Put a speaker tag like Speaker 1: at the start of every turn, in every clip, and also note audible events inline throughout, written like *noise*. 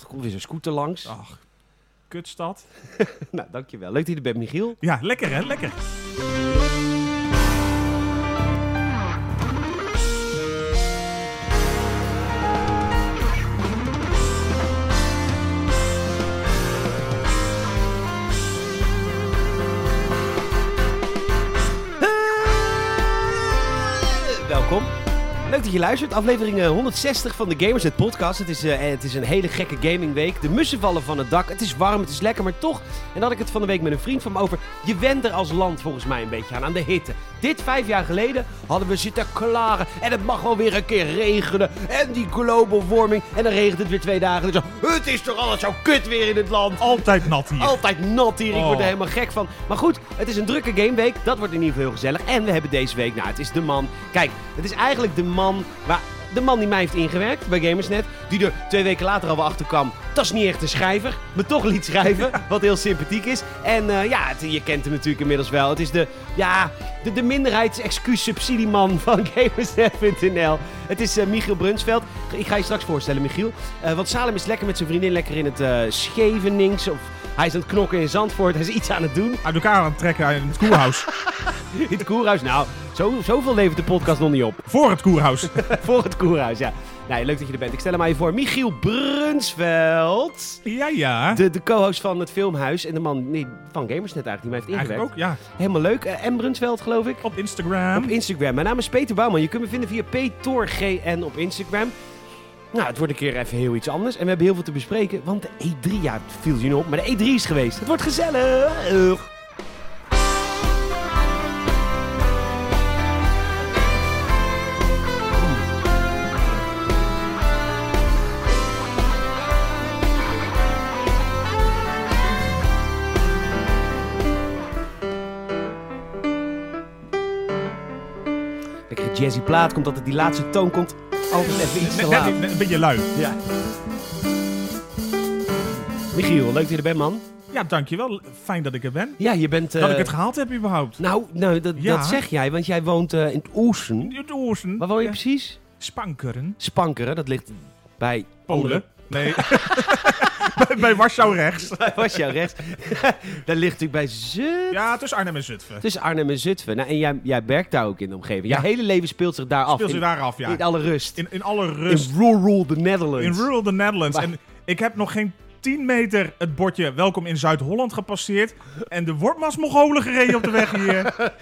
Speaker 1: Er komt weer zo'n scooter langs.
Speaker 2: Ach, kutstad.
Speaker 1: *laughs* Nou, dankjewel. Leuk dat je er bent, Michiel.
Speaker 2: Ja, lekker hè, lekker.
Speaker 1: Eh, welkom. Leuk dat je luistert. Aflevering eh, 160 van de Gamers het Podcast. Het is, eh, het is een hele gekke gamingweek. De mussen vallen van het dak. Het is warm, het is lekker, maar toch. En dan had ik het van de week met een vriend van me over. Je went er als land volgens mij een beetje aan, aan de hitte. Dit vijf jaar geleden hadden we zitten klaren. En het mag wel weer een keer regenen. En die global warming. En dan regent het weer twee dagen. Dus zo, het is toch altijd zo kut weer in het land.
Speaker 2: Altijd nat hier.
Speaker 1: Altijd nat hier, ik word er
Speaker 2: Oh.
Speaker 1: helemaal gek van. Maar goed, het is een drukke gameweek, dat wordt in ieder geval heel gezellig. En we hebben deze week, nou het is de man, kijk, het is eigenlijk de man waar... De man die mij heeft ingewerkt bij Gamersnet, die er twee weken later al wel achter kwam. Dat is niet echt een schrijver, maar toch liet
Speaker 2: *laughs*
Speaker 1: schrijven, wat heel sympathiek is. En eh, ja, het- je kent hem natuurlijk inmiddels wel. Het is de, ja, de, de minderheidsexcuus-subsidieman van *laughs* Gamersnet.nl. Het is eh, Michiel Brunsveld. Ik ga je straks voorstellen, Michiel. Eh, want Salem is lekker met zijn vriendin, lekker in het eh Schevenings. Of hij is aan het knokken in Zandvoort. Hij is iets aan het doen.
Speaker 2: Uit elkaar aan het trekken in het koerhuis.
Speaker 1: In het koerhuis. Nou, zo, zoveel levert de podcast nog niet op. *laughs*
Speaker 2: Voor het koerhuis.
Speaker 1: Voor het koerhuis, ja. Nou, leuk dat je er bent. Ik stel hem aan je voor. Michiel Brunsveld.
Speaker 2: Ja, ja.
Speaker 1: De, de co-host van het filmhuis. En de man nee, van Gamersnet eigenlijk, die mij heeft ingewerkt.
Speaker 2: Eigenlijk ook, ja.
Speaker 1: Helemaal leuk. Eh, M. Brunsveld, geloof ik.
Speaker 2: Op Instagram.
Speaker 1: Op Instagram. Mijn naam is Peter Bouwman. Je kunt me vinden via PTORGN op Instagram. Nou, het wordt een keer even heel iets anders. En we hebben heel veel te bespreken, want de E3, ja, het viel je nog op, maar de E3 is geweest. Het wordt gezellig. Lekkere jazzy plaat komt altijd die laatste toon komt altijd even
Speaker 2: *laughs*
Speaker 1: iets te
Speaker 2: Net,
Speaker 1: laat.
Speaker 2: net- net een beetje lui.
Speaker 1: Ja. Michiel, leuk dat je er bent, man.
Speaker 2: Ja, dankjewel. Fijn dat ik er ben.
Speaker 1: Ja, je bent... eh,
Speaker 2: Dat ik het gehaald heb überhaupt.
Speaker 1: Nou, nou dat,
Speaker 2: Ja.
Speaker 1: dat zeg jij, want jij woont eh, in het Oersen.
Speaker 2: Het oorsen.
Speaker 1: Waar woon je
Speaker 2: Ja.
Speaker 1: precies?
Speaker 2: Spankeren.
Speaker 1: Spankeren, dat ligt bij... *laughs*
Speaker 2: Polen. Nee. *laughs* bij, bij Warschau rechts.
Speaker 1: Was jou rechts. *laughs* dat ligt natuurlijk bij Zutphen.
Speaker 2: Ja, tussen Arnhem en Zutphen.
Speaker 1: Tussen Arnhem en Zutphen. Nou, en jij, jij werkt daar ook in de omgeving. Jouw
Speaker 2: Ja.
Speaker 1: hele leven speelt zich daar af.
Speaker 2: Speel ze
Speaker 1: in,
Speaker 2: daar af, ja.
Speaker 1: in alle rust.
Speaker 2: In, in alle rust.
Speaker 1: In rural the Netherlands.
Speaker 2: In rural the Netherlands.
Speaker 1: Waar-
Speaker 2: En ik heb nog geen 10 meter het bordje welkom in Zuid-Holland gepasseerd. En de wordt Mongolen gereden op de weg
Speaker 1: *laughs*
Speaker 2: hier.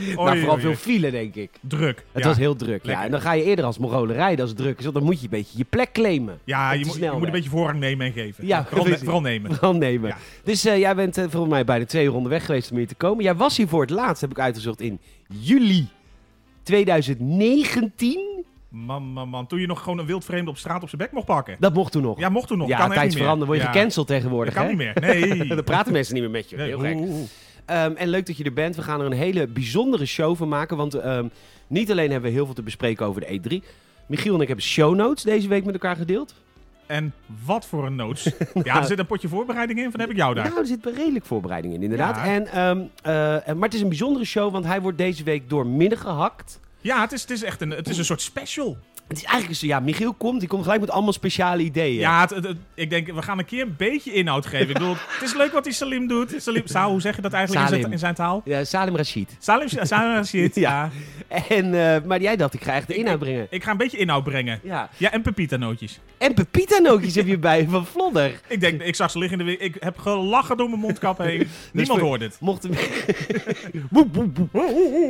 Speaker 2: Oei,
Speaker 1: maar Nou, vooral
Speaker 2: oei,
Speaker 1: veel
Speaker 2: oei.
Speaker 1: file, denk ik.
Speaker 2: druk.
Speaker 1: Het
Speaker 2: ja.
Speaker 1: was heel druk. Ja.
Speaker 2: Lekker.
Speaker 1: En dan ga je eerder als Mongolen rijden als het druk is. Want dan moet je een beetje je plek claimen.
Speaker 2: ja,
Speaker 1: op de
Speaker 2: je, moet, je moet
Speaker 1: snelweg.
Speaker 2: een beetje voorrang nemen en geven.
Speaker 1: Ja,
Speaker 2: vooral, ne-
Speaker 1: precies.
Speaker 2: vooral
Speaker 1: *laughs*
Speaker 2: nemen.
Speaker 1: Vooral nemen.
Speaker 2: Ja.
Speaker 1: Dus eh, jij bent eh, volgens mij bijna twee uur onderweg geweest om hier te komen. Jij was hier voor het laatst, heb ik uitgezocht, in juli 2019.
Speaker 2: Man, man, man. Toen je nog gewoon een wildvreemde op straat op zijn bek mocht pakken.
Speaker 1: Dat mocht toen nog.
Speaker 2: Ja, mocht toen nog.
Speaker 1: Ja,
Speaker 2: kan echt
Speaker 1: tijd
Speaker 2: niet meer.
Speaker 1: veranderen. Word je
Speaker 2: Ja,
Speaker 1: gecanceld tegenwoordig,
Speaker 2: Dat kan
Speaker 1: hè?
Speaker 2: niet
Speaker 1: *laughs*
Speaker 2: meer. Nee.
Speaker 1: Dan praten mensen niet meer met je.
Speaker 2: Nee,
Speaker 1: Heel
Speaker 2: oeh,
Speaker 1: gek.
Speaker 2: oeh, oeh.
Speaker 1: Ehm, en leuk dat je er bent. We gaan er een hele bijzondere show van maken. Want ehm, niet alleen hebben we heel veel te bespreken over de E3. Michiel en ik hebben show notes deze week met elkaar gedeeld.
Speaker 2: En wat voor een
Speaker 1: *laughs*
Speaker 2: noods. Ja, er zit een potje voorbereiding in. Van heb ik jou daar.
Speaker 1: Nou, er zit wel redelijk voorbereiding in, inderdaad.
Speaker 2: Ja.
Speaker 1: En, ehm, eh, en- maar het is een bijzondere show, want hij wordt deze week doormidden gehakt.
Speaker 2: Ja, het is, het is echt een, het is een soort special.
Speaker 1: Het is eigenlijk zo, ja, Michiel komt, die komt gelijk met allemaal speciale ideeën.
Speaker 2: Ja, het- het- het- ik denk, we gaan een keer een beetje inhoud geven. Ik bedoel, het is leuk wat die Salim doet. Salim, Saal, hoe zeg je dat eigenlijk in zijn,
Speaker 1: Salim.
Speaker 2: in zijn taal?
Speaker 1: Ja, Salim Rashid.
Speaker 2: Salim, Salim shit.
Speaker 1: *laughs* Ja.
Speaker 2: Ja.
Speaker 1: En, eh, maar jij dacht, ik ga echt de
Speaker 2: Ik-
Speaker 1: inhoud brengen.
Speaker 2: Ik ga een beetje inhoud brengen.
Speaker 1: Ja.
Speaker 2: Ja, en pepita-nootjes.
Speaker 1: En Pepita Nokies heb je bij van Vlodder.
Speaker 2: Ik denk, ik zag ze liggen in de wi- Ik heb gelachen door mijn mondkap
Speaker 1: *laughs*
Speaker 2: heen. Niemand
Speaker 1: Dus voor-
Speaker 2: hoort het.
Speaker 1: Mochten *laughs* Boep, boep, boep.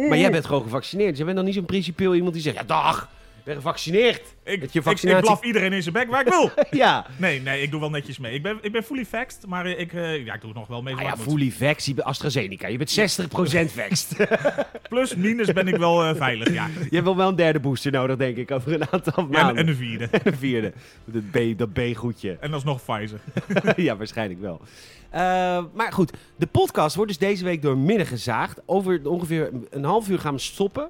Speaker 1: Maar jij bent gewoon gevaccineerd. Dus jij bent dan niet zo'n principieel iemand die zegt, ja dag, ik ben gevaccineerd.
Speaker 2: Ik,
Speaker 1: Dat je
Speaker 2: ik-
Speaker 1: vaccinatie-
Speaker 2: ik blaf iedereen in zijn bek waar ik wil.
Speaker 1: Ja.
Speaker 2: Nee, nee, ik doe wel netjes mee. Ik ben, ik ben fully vaxxed, maar eh, ik, eh, ja, ik doe nog wel mee.
Speaker 1: Ah
Speaker 2: zoals
Speaker 1: ja,
Speaker 2: het moet.
Speaker 1: fully vax, je bent AstraZeneca. Je bent 60% vaxxed.
Speaker 2: Plus, minus ben ik wel eh, veilig, ja.
Speaker 1: *laughs* je hebt wel wel een derde booster nodig, denk ik, over een aantal
Speaker 2: En,
Speaker 1: maanden.
Speaker 2: en een vierde.
Speaker 1: en *laughs* een vierde. Dat B- Dat B-goedje.
Speaker 2: En dat is nog Pfizer.
Speaker 1: *laughs* ja, waarschijnlijk wel. Eh, maar goed, de podcast wordt dus deze week door midden gezaagd. Over ongeveer een half uur gaan we stoppen.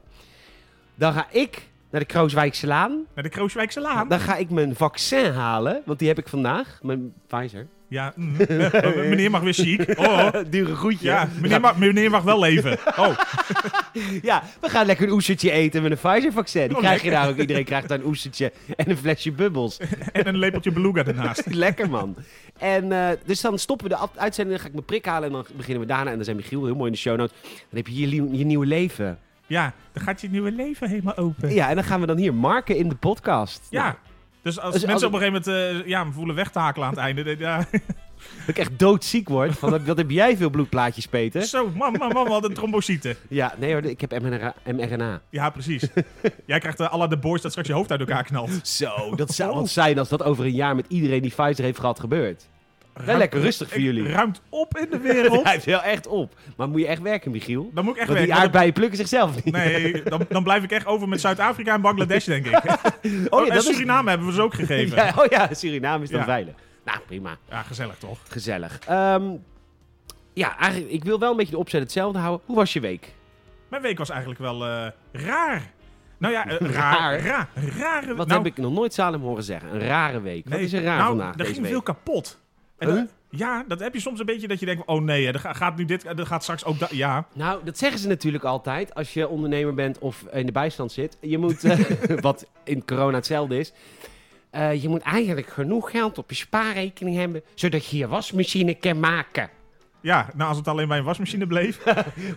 Speaker 1: Dan ga ik naar de Krooswijkse Laan.
Speaker 2: Naar de Krooswijkse Laan.
Speaker 1: Dan ga ik mijn vaccin halen, want die heb ik vandaag. Mijn Pfizer.
Speaker 2: Ja, mm, *laughs* meneer mag weer ziek. Oh,
Speaker 1: *laughs* Dure groetje.
Speaker 2: ja, meneer mag, meneer mag wel leven. Oh,
Speaker 1: Ja, we gaan lekker een oestertje eten met een Pfizer-vaccin. Die
Speaker 2: Oh,
Speaker 1: krijg je daar ook. Iedereen krijgt daar een oestertje en een flesje
Speaker 2: *laughs*
Speaker 1: bubbels.
Speaker 2: en een lepeltje beluga daarnaast.
Speaker 1: Lekker, man. En eh, dus dan stoppen we de af- uitzending, dan ga ik mijn prik halen en dan beginnen we daarna. En dan zijn Michiel heel mooi in de show notes. Dan heb je je, lie- je nieuwe leven.
Speaker 2: Ja, dan gaat je nieuwe leven helemaal open.
Speaker 1: Ja, en dan gaan we dan hier marken in de podcast. Nou,
Speaker 2: Ja. Dus als
Speaker 1: Dus
Speaker 2: mensen
Speaker 1: als-
Speaker 2: op een gegeven moment eh, ja, me voelen weg te hakelen aan het einde. dan- Ja.
Speaker 1: dat ik echt doodziek word. Van, wat- wat heb jij veel bloedplaatjes, Peter?
Speaker 2: Zo, man, man, man, wat een trombocyte.
Speaker 1: Ja, nee hoor, ik heb mRNA. mRNA.
Speaker 2: Ja, precies. Jij krijgt uh, à la de boys dat straks je hoofd uit elkaar knalt.
Speaker 1: Zo, dat *laughs* zou wat zijn als dat over een jaar met iedereen die Pfizer heeft gehad gebeurt. Wel
Speaker 2: Ruim-
Speaker 1: lekker rustig voor
Speaker 2: Ik-
Speaker 1: jullie.
Speaker 2: Ruimt op in de
Speaker 1: Hij
Speaker 2: wereld.
Speaker 1: heeft wel echt op. Maar moet je echt werken, Michiel?
Speaker 2: Dan moet ik echt
Speaker 1: Want die
Speaker 2: werken.
Speaker 1: aardbeien plukken zichzelf niet. Oh,
Speaker 2: Nee, dan, dan blijf ik echt over met Zuid-Afrika en Bangladesh, denk ik.
Speaker 1: *laughs* oh,
Speaker 2: en Suriname hebben we ze ook gegeven. Ja,
Speaker 1: Ja, oh ja, Suriname is dan
Speaker 2: Ja.
Speaker 1: veilig. Nou, prima.
Speaker 2: gezellig toch?
Speaker 1: Gezellig. Ehm, ja, eigenlijk, ik wil wel een beetje de opzet hetzelfde houden. Hoe was je week?
Speaker 2: Mijn week was eigenlijk wel eh, raar.
Speaker 1: *laughs*
Speaker 2: Nou ja, eh,
Speaker 1: Raar?
Speaker 2: raar. Raar. Rare,
Speaker 1: Wat
Speaker 2: nou,
Speaker 1: heb ik nog nooit Salem horen zeggen? Een rare week. Wat
Speaker 2: nee,
Speaker 1: is er raar
Speaker 2: nou,
Speaker 1: vandaag
Speaker 2: Er
Speaker 1: deze
Speaker 2: ging
Speaker 1: week?
Speaker 2: veel kapot. En
Speaker 1: Huh?
Speaker 2: dat- ja, dat heb je soms een beetje dat je denkt, oh nee, hè, er ga- gaat nu dit, er gaat straks ook dat. Ja,
Speaker 1: Nou, dat zeggen ze natuurlijk altijd als je ondernemer bent of in de bijstand zit. Je moet, eh,
Speaker 2: *laughs*
Speaker 1: wat in corona hetzelfde is, eh, je moet eigenlijk genoeg geld op je spaarrekening hebben, zodat je je wasmachine kan maken.
Speaker 2: ja, nou als het alleen bij een wasmachine bleef.
Speaker 1: *laughs*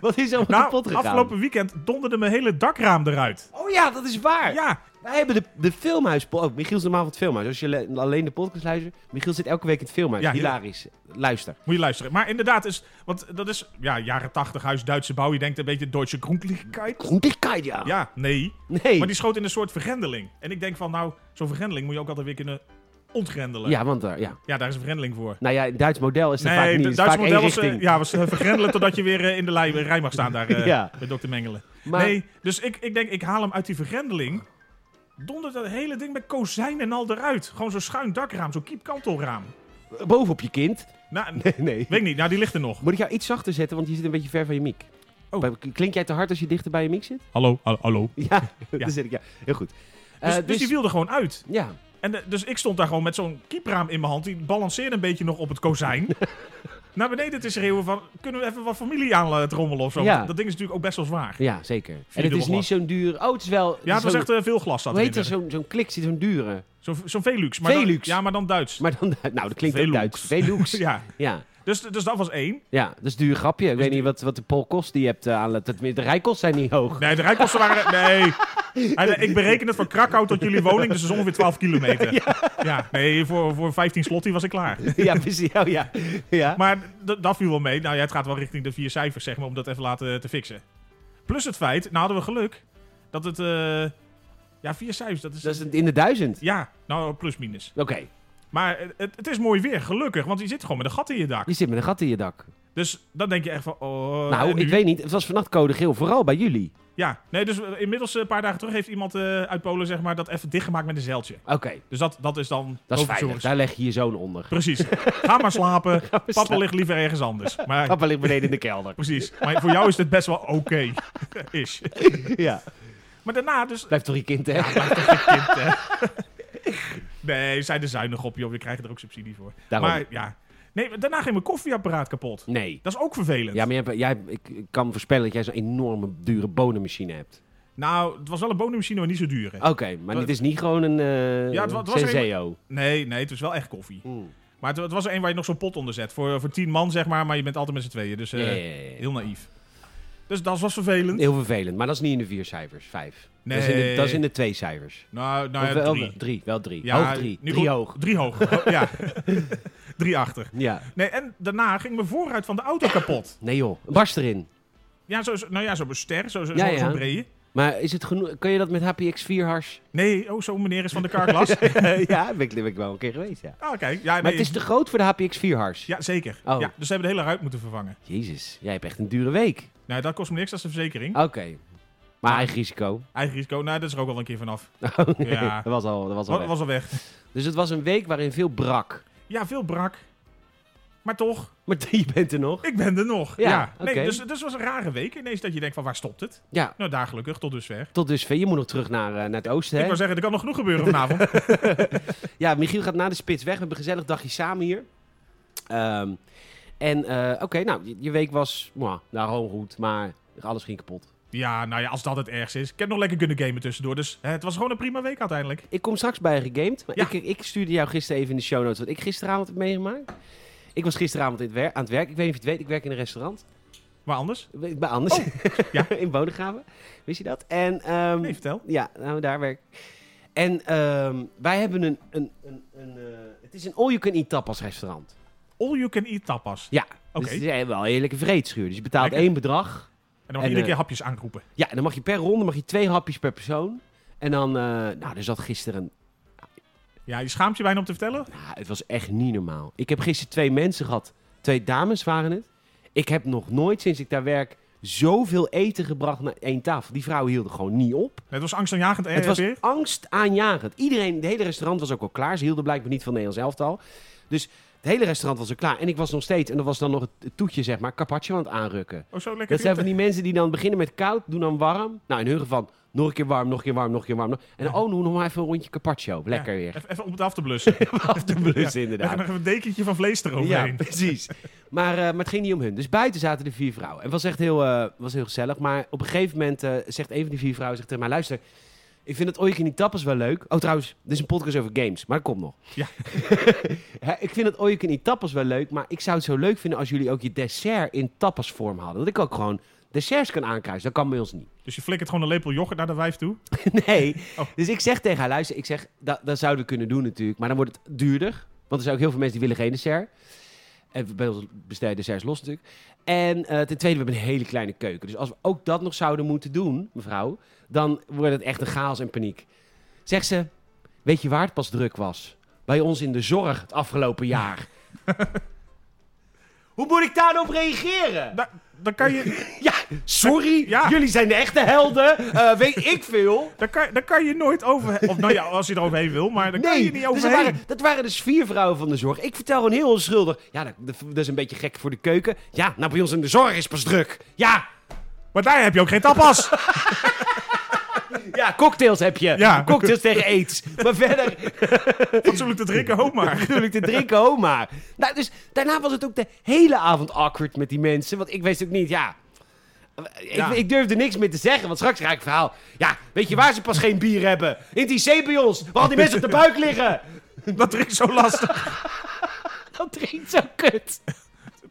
Speaker 1: Wat is er allemaal kapot
Speaker 2: nou,
Speaker 1: gegaan?
Speaker 2: afgelopen weekend donderde mijn hele dakraam eruit.
Speaker 1: Oh ja, dat is waar.
Speaker 2: Ja,
Speaker 1: Wij hebben de, de filmhuis. Oh, Michiel is normaal van het filmhuis. Als je le- alleen de podcast luistert. Michiel zit elke week in het filmhuis.
Speaker 2: Ja,
Speaker 1: Hilarisch. Luister.
Speaker 2: Moet je luisteren. Maar inderdaad, is, want dat is ja, jaren 80 huis Duitse bouw. Je denkt een beetje Duitse Grundlichkeit.
Speaker 1: Groenlijkheid, ja.
Speaker 2: Ja, nee.
Speaker 1: Nee.
Speaker 2: Maar die schoot in een soort vergrendeling. En ik denk van, nou, zo'n vergrendeling moet je ook altijd weer kunnen ontgrendelen.
Speaker 1: Ja, want daar, ja.
Speaker 2: Ja, daar is een vergrendeling voor.
Speaker 1: Nou ja, in het Duits model is dat vaak niet.
Speaker 2: de
Speaker 1: Het is vaak één
Speaker 2: was, eh,
Speaker 1: richting.
Speaker 2: ja, was eh, vergrendelen totdat je weer eh, in de lij- rij mag staan daar
Speaker 1: *laughs*
Speaker 2: eh,
Speaker 1: Ja.
Speaker 2: met dokter Mengelen.
Speaker 1: Maar-
Speaker 2: Nee, dus ik, ik denk, ik haal hem uit die vergrendeling. Dondert dat hele ding met kozijn en al eruit. Gewoon zo'n schuin dakraam, zo'n kiepkantelraam.
Speaker 1: Bovenop je kind. *laughs*
Speaker 2: Nou,
Speaker 1: Nee, nee.
Speaker 2: weet ik niet. Nou, die ligt er nog.
Speaker 1: Moet ik jou iets zachter zetten, want je zit een beetje ver van je mic.
Speaker 2: Oh.
Speaker 1: Bij- Klink jij te hard als je dichter bij je mic zit? *laughs*
Speaker 2: Hallo, hallo, hallo.
Speaker 1: Ja, dan zit ik. Ja, heel goed. Eh,
Speaker 2: Dus, dus die viel er gewoon uit.
Speaker 1: Ja.
Speaker 2: En de- dus ik stond daar gewoon met zo'n kiepraam in mijn hand. Die balanceerde een beetje nog op het
Speaker 1: *laughs*
Speaker 2: kozijn. Naar beneden te schreeuwen van... Kunnen we even wat familie aan trommelen of zo?
Speaker 1: Ja.
Speaker 2: Want Dat ding is natuurlijk ook best wel zwaar.
Speaker 1: ja, zeker. En het
Speaker 2: Vierdubbel
Speaker 1: is niet
Speaker 2: glas.
Speaker 1: zo'n duur... Oh, het is wel...
Speaker 2: Ja, het was
Speaker 1: zo'n-
Speaker 2: echt eh, veel glas zat
Speaker 1: Hoe heet er
Speaker 2: erin.
Speaker 1: zo'n zo'n klik? Zit zo'n dure.
Speaker 2: Zo'n zo'n Velux. Maar dan-
Speaker 1: Velux.
Speaker 2: ja, maar dan Duits.
Speaker 1: Maar dan... *laughs* Nou, dat klinkt ook
Speaker 2: Velux.
Speaker 1: Duits. Velux.
Speaker 2: *laughs* Ja,
Speaker 1: Ja.
Speaker 2: dus, dus dat was één.
Speaker 1: Ja, dat is een duur grapje. Ik weet niet wat, wat de polkost die je hebt eh, aan het... het- De rijkosten zijn niet
Speaker 2: *laughs*
Speaker 1: hoog.
Speaker 2: Nee, de rijkosten waren... Nee.
Speaker 1: *laughs*
Speaker 2: Hij zei, Ik bereken het van Krakau tot jullie woning, dus dat is ongeveer 12 kilometer. Ja, nee, voor, voor 15 slotty was ik klaar.
Speaker 1: ja, precies. Oh, ja. ja.
Speaker 2: Maar d- dat viel wel mee. Nou ja, het gaat wel richting de vier cijfers, zeg maar, om dat even laten eh, te fixen. Plus het feit, nou hadden we geluk, dat het... eh, ja, vier cijfers, dat is...
Speaker 1: dat is het in de duizend.
Speaker 2: Ja, nou, plus minus.
Speaker 1: Oké,
Speaker 2: Maar eh, het, het is mooi weer, gelukkig, want je zit gewoon met een gat in je dak.
Speaker 1: je zit met een gat in je dak.
Speaker 2: Dus dan denk je echt van... Oh, en
Speaker 1: nou,
Speaker 2: nu?
Speaker 1: ik weet niet. Het was vannacht code geel. Vooral bij jullie.
Speaker 2: Ja, nee, dus eh, inmiddels eh, een paar dagen terug heeft iemand eh, uit Polen, zeg maar, dat even dichtgemaakt met een zeiltje.
Speaker 1: Oké,
Speaker 2: Dus dat, dat is dan...
Speaker 1: dat is
Speaker 2: hoofdzorg.
Speaker 1: veilig. Daar leg je je zoon onder.
Speaker 2: Precies. Ga maar
Speaker 1: *laughs*
Speaker 2: slapen. Papa
Speaker 1: slapen.
Speaker 2: ligt liever ergens anders. Maar
Speaker 1: Papa ligt beneden in de
Speaker 2: *laughs*
Speaker 1: kelder.
Speaker 2: precies. Maar voor jou is dit best wel oké. *laughs* Is.
Speaker 1: ja.
Speaker 2: Maar daarna dus...
Speaker 1: Blijft toch je kind, hè?
Speaker 2: Kind, hè. nee, zij er zuinig op, joh. We krijgen er ook subsidie voor.
Speaker 1: Daarom.
Speaker 2: Maar ja. Nee, maar daarna ging mijn koffieapparaat kapot.
Speaker 1: Nee.
Speaker 2: Dat is ook vervelend.
Speaker 1: Ja, maar jij, hebt- jij, ik ik kan voorspellen dat jij zo'n enorme dure bonenmachine hebt.
Speaker 2: Nou, het was wel een bonenmachine, maar niet zo duur. hè.
Speaker 1: Oké, maar dit is niet gewoon een eh
Speaker 2: Ja, het wa- het was Hmm. er
Speaker 1: Senseo.
Speaker 2: Nee, nee, het was wel echt koffie.
Speaker 1: Mm.
Speaker 2: Maar het, het was er een waar je nog zo'n pot onder zet. Voor, voor tien man, zeg maar. Maar je bent altijd met z'n tweeën. Dus eh,
Speaker 1: Ja, ja, ja, ja.
Speaker 2: heel naïef. Dus dat was vervelend.
Speaker 1: Heel vervelend, maar dat is niet in de vier cijfers, vijf.
Speaker 2: Nee.
Speaker 1: Dat is in de, dat is in de twee cijfers.
Speaker 2: Nou, nou
Speaker 1: Of
Speaker 2: ja,
Speaker 1: wel,
Speaker 2: drie.
Speaker 1: wel drie.
Speaker 2: Ja,
Speaker 1: hoog drie.
Speaker 2: nu
Speaker 1: Drie
Speaker 2: goed-
Speaker 1: hoog.
Speaker 2: Drie
Speaker 1: *laughs*
Speaker 2: hoog. Oh, ja. drie achter.
Speaker 1: Ja.
Speaker 2: Nee, en daarna ging mijn voorruit van de auto kapot.
Speaker 1: Nee joh, een barst erin.
Speaker 2: Ja, zo, zo- nou ja, zo'n ster, zo'n zo,
Speaker 1: Ja,
Speaker 2: zo,
Speaker 1: ja.
Speaker 2: zo'n brede.
Speaker 1: Maar is het genoeg? Kun je dat met HPX4
Speaker 2: *laughs*
Speaker 1: hars?
Speaker 2: Nee, oh, zo'n meneer is van de karklas.
Speaker 1: *laughs* ja, ben ik, ben ik wel een keer geweest, ja.
Speaker 2: ah, kijk. Ja, nee,
Speaker 1: Maar het is te groot voor de HPX4 hars.
Speaker 2: ja zeker.
Speaker 1: Oh.
Speaker 2: Ja, dus ze hebben de hele ruit moeten vervangen.
Speaker 1: Jezus, jij hebt echt een dure week.
Speaker 2: Nou, dat kost me niks, dat is de verzekering.
Speaker 1: Oké. Maar eigen risico. *laughs*
Speaker 2: Eigen risico, nou, dat is er ook al een keer vanaf.
Speaker 1: Oh, nee,
Speaker 2: Ja.
Speaker 1: Dat was al, dat was al
Speaker 2: Dat
Speaker 1: weg.
Speaker 2: was al weg.
Speaker 1: Dus het was een week waarin veel brak.
Speaker 2: Ja, veel brak. Maar toch,
Speaker 1: Maar *laughs* je bent er nog.
Speaker 2: ik ben er nog.
Speaker 1: Ja,
Speaker 2: Ja,
Speaker 1: oké.
Speaker 2: nee, dus, dus het was een rare week ineens dat je denkt van, waar stopt het?
Speaker 1: Ja,
Speaker 2: Nou, daar gelukkig, tot dusver.
Speaker 1: tot dusver. Je moet nog terug naar, eh, naar het oosten,
Speaker 2: Ik
Speaker 1: hè?
Speaker 2: wou zeggen, er kan nog genoeg gebeuren vanavond. *laughs*
Speaker 1: Ja, Michiel gaat na de spits weg. We hebben een gezellig dagje samen hier. Ehm, en eh, oké, nou, je, je week was nou daarom goed, maar alles ging kapot.
Speaker 2: Ja, nou ja, als dat het ergste is. Ik heb nog lekker kunnen gamen tussendoor, dus hè, het was gewoon een prima week uiteindelijk.
Speaker 1: Ik kom straks bij gegamed, maar
Speaker 2: Ja.
Speaker 1: ik, ik stuurde jou gisteren even in de show notes wat ik gisteravond heb meegemaakt. Ik was gisteravond in het wer- aan het werk. Ik weet niet of je het weet, ik werk in een restaurant.
Speaker 2: Maar anders?
Speaker 1: Bij bij Anders.
Speaker 2: Oh.
Speaker 1: *laughs*
Speaker 2: ja.
Speaker 1: in Bodegraven. Wist je dat? En, ehm,
Speaker 2: Nee, vertel.
Speaker 1: Ja, nou, daar werk ik. En ehm, wij hebben een... een, een, een eh, het is een all-you-can-eat tapas restaurant.
Speaker 2: All you can eat tapas.
Speaker 1: Ja.
Speaker 2: Oké.
Speaker 1: Dus het is wel een heerlijke vreedschuur. Dus je betaalt
Speaker 2: Lekker.
Speaker 1: één bedrag. En,
Speaker 2: En dan mag je iedere
Speaker 1: eh,
Speaker 2: keer hapjes aanroepen.
Speaker 1: Ja, en dan mag je per ronde mag je twee hapjes per persoon. En dan... eh, nou, er zat gisteren...
Speaker 2: Ja, je schaamt je bijna om te vertellen?
Speaker 1: Nou, het was echt niet normaal. Ik heb gisteren twee mensen gehad. Twee dames waren het. Ik heb nog nooit sinds ik daar werk... Zoveel eten gebracht naar één tafel. Die vrouwen hielden gewoon niet op.
Speaker 2: Het was angstaanjagend eh,
Speaker 1: Het was
Speaker 2: weer.
Speaker 1: angstaanjagend. Iedereen, het hele restaurant was ook al klaar. Ze hielden blijkbaar niet van Nederlands elftal. Dus het hele restaurant was al klaar. En ik was nog steeds, en dat was dan nog het- het toetje, zeg maar, carpaccio aan het aanrukken.
Speaker 2: Oh, zo
Speaker 1: Dat zijn
Speaker 2: lekker. duurt
Speaker 1: van
Speaker 2: het.
Speaker 1: die mensen die dan beginnen met koud, doen dan warm. Nou, in hun geval nog een keer warm, nog een keer warm, nog een keer warm. nog- En dan, oh, doe nog maar even een rondje carpaccio. Lekker
Speaker 2: Ja,
Speaker 1: weer.
Speaker 2: Even, even om het af te
Speaker 1: *laughs*
Speaker 2: blussen.
Speaker 1: Af te blussen,
Speaker 2: Leg er
Speaker 1: inderdaad.
Speaker 2: nog even een dekentje van vlees
Speaker 1: Ja,
Speaker 2: eroverheen.
Speaker 1: precies. Maar, eh, maar het ging niet om hun. Dus buiten zaten de vier vrouwen. En het was echt heel, eh, was heel gezellig. Maar op een gegeven moment eh, zegt een van die vier vrouwen zegt tegen mij... Luister, ik vind het Ooit Niet Tappers wel leuk. Oh, trouwens, dit is een podcast over games. Maar dat komt nog.
Speaker 2: Ja.
Speaker 1: *laughs* Hè, ik vind het Ooit Niet Tappers wel leuk. Maar ik zou het zo leuk vinden als jullie ook je dessert in tapasvorm hadden. Dat ik ook gewoon desserts kan aankruisen. Dat kan bij ons niet.
Speaker 2: Dus je flikkert gewoon een lepel yoghurt naar de wijf toe.
Speaker 1: *laughs* Nee.
Speaker 2: Oh.
Speaker 1: Dus ik zeg tegen haar, luister, ik zeg, dat, dat zouden we kunnen doen natuurlijk. Maar dan wordt het duurder. Want er zijn ook heel veel mensen die willen geen dessert. En bij ons besteden desserts los natuurlijk. En eh, ten tweede, we hebben een hele kleine keuken. Dus als we ook dat nog zouden moeten doen, mevrouw, dan wordt het echt een chaos en paniek. Zegt ze, weet je waar het pas druk was? Bij ons in de zorg het afgelopen jaar. *laughs* Hoe moet ik daarop reageren?
Speaker 2: Da- dan, kan je,
Speaker 1: *laughs* Ja, sorry,
Speaker 2: Ja.
Speaker 1: jullie zijn de echte helden. Eh, weet *laughs* ik veel.
Speaker 2: dan, kan, dan kan je nooit over... Of nou ja, als je eroverheen wil, maar dan kan je niet
Speaker 1: dus dat,
Speaker 2: overheen.
Speaker 1: waren, dat waren dus vier vrouwen van de zorg. Ik vertel gewoon heel onschuldig. Ja, dat, dat- dat is een beetje gek voor de keuken. Ja, nou bij ons in de zorg is pas druk. Ja,
Speaker 2: Maar daar heb je ook geen tapas.
Speaker 1: ja cocktails heb je.
Speaker 2: Ja.
Speaker 1: Cocktails tegen aids. Maar verder
Speaker 2: Fatsoenlijk te drinken, ook maar.
Speaker 1: natuurlijk te drinken, ho maar. Nou, dus daarna was het ook de hele avond awkward met die mensen. Want ik wist ook niet, ja... Ik,
Speaker 2: Ja.
Speaker 1: ik durfde niks meer te zeggen, want straks raak ik het verhaal. Ja, weet je waar ze pas geen bier hebben? In het IC bij ons, waar al die mensen op de buik
Speaker 2: *laughs*
Speaker 1: liggen.
Speaker 2: Dat drinkt zo lastig.
Speaker 1: Dat drinkt zo kut.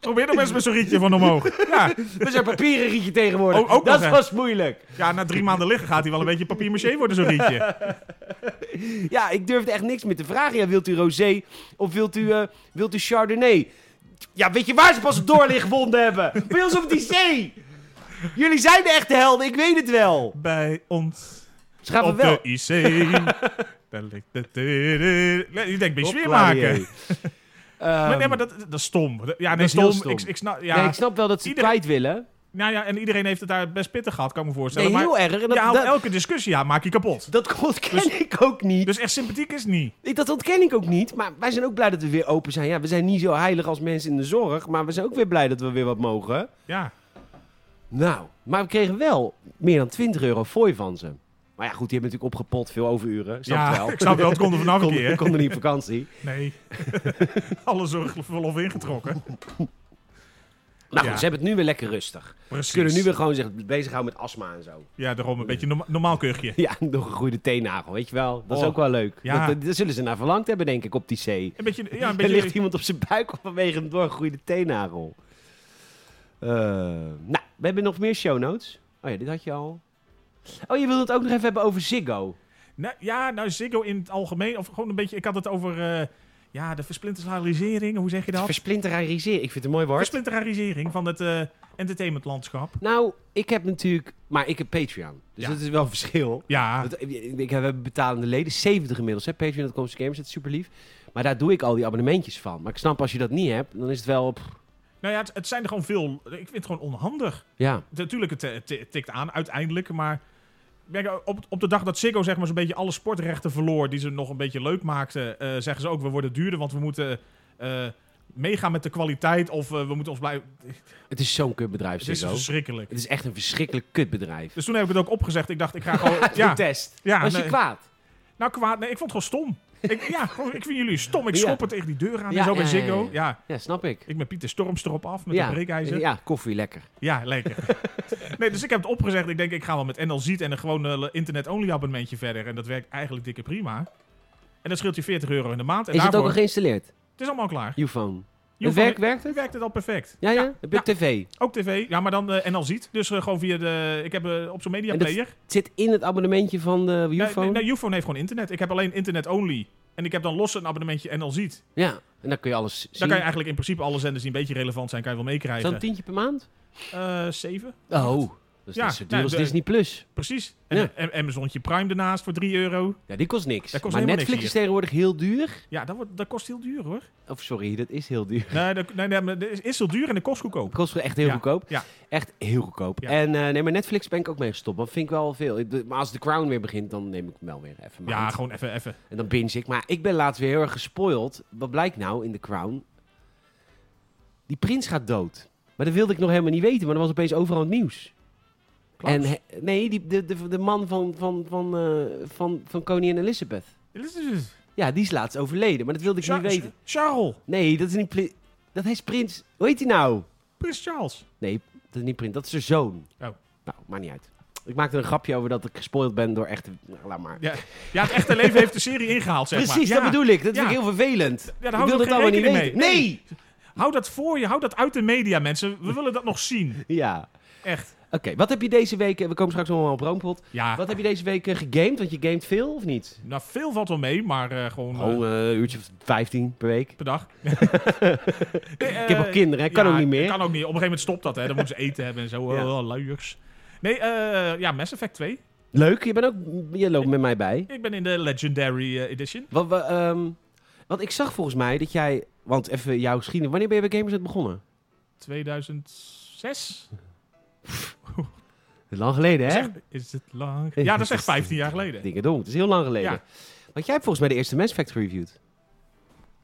Speaker 2: Probeer nog eens met zo'n rietje van omhoog. Ja,
Speaker 1: We zijn papieren rietje tegenwoordig.
Speaker 2: Oh, Ook- ook nog,
Speaker 1: dat
Speaker 2: hè?
Speaker 1: was moeilijk.
Speaker 2: ja na drie maanden liggen gaat hij wel een beetje papier-maché worden, zo'n rietje.
Speaker 1: Ja, ik durfde echt niks meer te vragen. Ja, wilt u rosé of wilt u, eh, wilt u chardonnay? Ja, weet je waar ze pas op doorlichtwonden hebben? Bij ons op die zee. Jullie zijn de echte helden, ik weet het wel.
Speaker 2: Bij ons
Speaker 1: Ze gaan we
Speaker 2: op
Speaker 1: wel.
Speaker 2: de IC. Daar ligt de... Nee, Je denkt, ben je
Speaker 1: Hopla,
Speaker 2: sfeer maken?
Speaker 1: jee. *laughs* Ehm,
Speaker 2: Maar nee, maar dat, dat is stom. Ja, nee,
Speaker 1: is heel
Speaker 2: stom.
Speaker 1: stom.
Speaker 2: Ik, ik snap, ja,
Speaker 1: nee, ik snap wel dat ze het
Speaker 2: Iedereen-
Speaker 1: kwijt willen.
Speaker 2: Nou ja, en iedereen heeft het daar best pittig gehad, kan ik me
Speaker 1: Nee,
Speaker 2: voorstellen. maar
Speaker 1: heel erg. En dat,
Speaker 2: ja, want
Speaker 1: dat,
Speaker 2: elke discussie ja, maak je kapot.
Speaker 1: dat ontken ik ook niet.
Speaker 2: Dus echt sympathiek is het niet.
Speaker 1: Ik- Dat ontken ik ook niet. Maar wij zijn ook blij dat we weer open zijn. Ja, we zijn niet zo heilig als mensen in de zorg. Maar we zijn ook weer blij dat we weer wat mogen.
Speaker 2: Ja.
Speaker 1: Nou, maar we kregen wel meer dan 20 euro fooi van ze. Maar ja, goed, die hebben natuurlijk opgepot veel overuren. Ik snap
Speaker 2: ja,
Speaker 1: het wel.
Speaker 2: *laughs* ik snap wel, het kon er vanaf een
Speaker 1: Kon-
Speaker 2: keer.
Speaker 1: konden niet op vakantie.
Speaker 2: Nee. *laughs* Alle zorgverlof ingetrokken.
Speaker 1: Nou,
Speaker 2: Ja.
Speaker 1: ze hebben het nu weer lekker rustig.
Speaker 2: Precies.
Speaker 1: Ze kunnen nu weer gewoon zich bezighouden met astma en zo. *laughs*
Speaker 2: Ja, daarom een beetje norma- normaal kuchje.
Speaker 1: Ja, nog een goede teennagel, weet je wel. Dat is
Speaker 2: Oh,
Speaker 1: ook wel leuk.
Speaker 2: ja.
Speaker 1: Dat, dat zullen ze naar verlangd hebben, denk ik, op die C.
Speaker 2: Een beetje, ja, een
Speaker 1: Er ligt
Speaker 2: beetje...
Speaker 1: iemand op zijn buik vanwege een doorgegroeide teennagel. Eh, nou, we hebben nog meer show notes. Oh ja, dit had je al. Oh, je wilde het ook nog even hebben over Ziggo.
Speaker 2: Nou, ja, nou Ziggo in het algemeen. Of gewoon een beetje... Ik had het over... eh, ja, de versplinterisering. Hoe zeg je dat?
Speaker 1: Versplinterariseren, ik vind het een mooi woord.
Speaker 2: Versplinterarisering van het eh, entertainmentlandschap.
Speaker 1: Nou, ik heb natuurlijk... Maar ik heb Patreon. Dus
Speaker 2: Ja. Ah.
Speaker 1: dat is wel een verschil.
Speaker 2: Ja,
Speaker 1: Want, eh, ik heb, we hebben betalende leden, 70 inmiddels. hè. Patreon.com slash gamers, dat is super lief. Maar daar doe ik al die abonnementjes van. Maar ik snap, als je dat niet hebt, dan is het wel op...
Speaker 2: nou ja, het, het zijn er gewoon veel... Ik vind het gewoon onhandig.
Speaker 1: Ja,
Speaker 2: Natuurlijk, het, eh, ti- tikt aan uiteindelijk, maar... Kijk, op, op de dag dat Ziggo zeg maar, zo'n beetje alle sportrechten verloor... die ze nog een beetje leuk maakten... eh, zeggen ze ook, we worden duurder... want we moeten eh, meegaan met de kwaliteit... of eh, we moeten ons blijven...
Speaker 1: het is zo'n kutbedrijf,
Speaker 2: Het is
Speaker 1: Ziggo.
Speaker 2: verschrikkelijk.
Speaker 1: Het is echt een verschrikkelijk
Speaker 2: *laughs*
Speaker 1: kutbedrijf. *laughs*
Speaker 2: Dus toen heb ik het ook opgezegd. Ik dacht, ik ga gewoon...
Speaker 1: Doe
Speaker 2: ja,
Speaker 1: test.
Speaker 2: ja
Speaker 1: Was je
Speaker 2: nee,
Speaker 1: kwaad?
Speaker 2: nou kwaad. Nee, ik vond het gewoon stom. ik, ja, gewoon, ik vind jullie stom. Ik
Speaker 1: Ja.
Speaker 2: schoppen tegen die deur aan
Speaker 1: Ja,
Speaker 2: en zo bij
Speaker 1: ja, ja,
Speaker 2: Ziggo.
Speaker 1: ja.
Speaker 2: Ja,
Speaker 1: Ja, snap ik.
Speaker 2: ik met Pieter Storms erop af met
Speaker 1: ja.
Speaker 2: een breekijzer. Ja,
Speaker 1: Ja, koffie, lekker. *laughs*
Speaker 2: lekker. nee, dus ik heb het opgezegd. Ik denk, ik ga wel met NL Ziet en een gewoon eh, internet-only abonnementje verder. En dat werkt eigenlijk dikke prima. En dat scheelt je 40 euro in de maand. En
Speaker 1: Is het ook
Speaker 2: daarvoor,
Speaker 1: al geïnstalleerd?
Speaker 2: het is allemaal klaar.
Speaker 1: Uphone.
Speaker 2: Je
Speaker 1: Het werk, werkt het?
Speaker 2: werkt het al perfect.
Speaker 1: Ja, ja. Heb je
Speaker 2: Ja.
Speaker 1: tv?
Speaker 2: Ook tv. Ja, maar dan eh, NL Ziet. Dus eh, gewoon via de... Ik heb eh, op zo'n media
Speaker 1: En dat-
Speaker 2: player.
Speaker 1: Het zit in het abonnementje van de
Speaker 2: Nee,
Speaker 1: Uphone?
Speaker 2: nee, Ufone heeft gewoon internet. Ik heb alleen internet only. En ik heb dan los een abonnementje NL Ziet.
Speaker 1: Ja, en dan kun je alles zien.
Speaker 2: Dan kan je eigenlijk in principe alle zenders die een beetje relevant zijn, kan je wel
Speaker 1: Is dat een
Speaker 2: meekrijgen.
Speaker 1: tientje per maand?
Speaker 2: Eh zeven.
Speaker 1: Oh, dat is
Speaker 2: Ja,
Speaker 1: niet zo duur
Speaker 2: nou,
Speaker 1: als
Speaker 2: de-
Speaker 1: Disney+. Plus.
Speaker 2: Precies. En,
Speaker 1: Ja.
Speaker 2: en Amazontje Prime ernaast voor 3 euro.
Speaker 1: Ja, die kost niks.
Speaker 2: Dat kost
Speaker 1: maar
Speaker 2: helemaal
Speaker 1: Netflix
Speaker 2: niks
Speaker 1: is
Speaker 2: hier.
Speaker 1: tegenwoordig heel duur.
Speaker 2: Ja, dat, wordt, dat kost heel duur hoor.
Speaker 1: Of sorry, dat is heel duur. *laughs*
Speaker 2: Nee, dat, nee, nee, maar dat is, is heel duur en dat kost
Speaker 1: Het
Speaker 2: goedkoop.
Speaker 1: kost echt heel
Speaker 2: Ja,
Speaker 1: goedkoop.
Speaker 2: ja.
Speaker 1: Echt heel goedkoop.
Speaker 2: Ja.
Speaker 1: En eh, nee, maar Netflix ben ik ook mee gestopt. Want vind ik wel veel. Ik doe- Maar als The Crown weer begint, dan neem ik hem wel weer even
Speaker 2: Ja,
Speaker 1: maand.
Speaker 2: gewoon even, even.
Speaker 1: En dan binge ik. Maar ik ben laatst weer heel erg gespoild. Wat blijkt nou in The Crown? Die prins gaat dood. Maar dat wilde ik nog helemaal niet weten. Maar dat was opeens overal het nieuws.
Speaker 2: Klaus.
Speaker 1: En he- nee, die, de, de, de man van, van, van, eh, van, van koningin Elizabeth.
Speaker 2: Dit is- dit is-
Speaker 1: Ja, die is laatst overleden. Maar dat wilde ik
Speaker 2: Char-
Speaker 1: niet weten.
Speaker 2: Charles.
Speaker 1: Nee, dat is niet... pli- Dat is prins... Hoe heet hij nou?
Speaker 2: Prins Charles.
Speaker 1: Nee, dat is niet prins. Dat is zijn zoon.
Speaker 2: Oh.
Speaker 1: Nou, maakt niet uit. Ik maakte een grapje over dat ik gespoild ben door echte... Nou, laat maar.
Speaker 2: Ja, ja, het echte leven heeft de serie ingehaald, zeg maar.
Speaker 1: Precies,
Speaker 2: ja.
Speaker 1: dat bedoel ik. Dat
Speaker 2: Ja.
Speaker 1: vind ik heel vervelend.
Speaker 2: Ja, daar
Speaker 1: ik
Speaker 2: houden
Speaker 1: wil
Speaker 2: we
Speaker 1: dat
Speaker 2: geen
Speaker 1: allemaal niet
Speaker 2: rekening
Speaker 1: weten.
Speaker 2: mee.
Speaker 1: Nee!
Speaker 2: Hou dat voor je, hou dat uit de media, mensen. We willen dat nog zien.
Speaker 1: Ja.
Speaker 2: Echt.
Speaker 1: Oké, wat heb je deze week... eh, We komen straks nog wel op Roompot.
Speaker 2: Ja,
Speaker 1: Wat heb je deze week eh, gegamed? Want je gamet veel, of niet?
Speaker 2: nou, veel valt wel mee, maar eh, gewoon eh,
Speaker 1: Oh, eh, een uurtje of 15 per week.
Speaker 2: per
Speaker 1: *laughs*
Speaker 2: dag. eh,
Speaker 1: Ik heb ook kinderen, ik kan ook niet meer.
Speaker 2: Kan ook niet. Op een gegeven moment stopt dat, hè. Dan moeten ze eten hebben en
Speaker 1: *laughs*
Speaker 2: zo.
Speaker 1: Ja.
Speaker 2: Oh, luiers. Nee, eh, ja, Mass Effect 2.
Speaker 1: Leuk, je, bent ook, je loopt met mij bij.
Speaker 2: Ik ben in de Legendary eh, Edition.
Speaker 1: Wat, we, ehm, want ik zag volgens mij dat jij... Want even jouw geschiedenis... Wanneer ben je bij Gamersnet begonnen?
Speaker 2: 2006?
Speaker 1: Lang geleden,
Speaker 2: Is,
Speaker 1: hè?
Speaker 2: echt- is het lang? Ja, dat is echt 15 jaar
Speaker 1: *laughs*
Speaker 2: geleden.
Speaker 1: Dingedong, het is heel lang geleden.
Speaker 2: Ja.
Speaker 1: Want jij hebt volgens mij de eerste Mass Effect reviewed.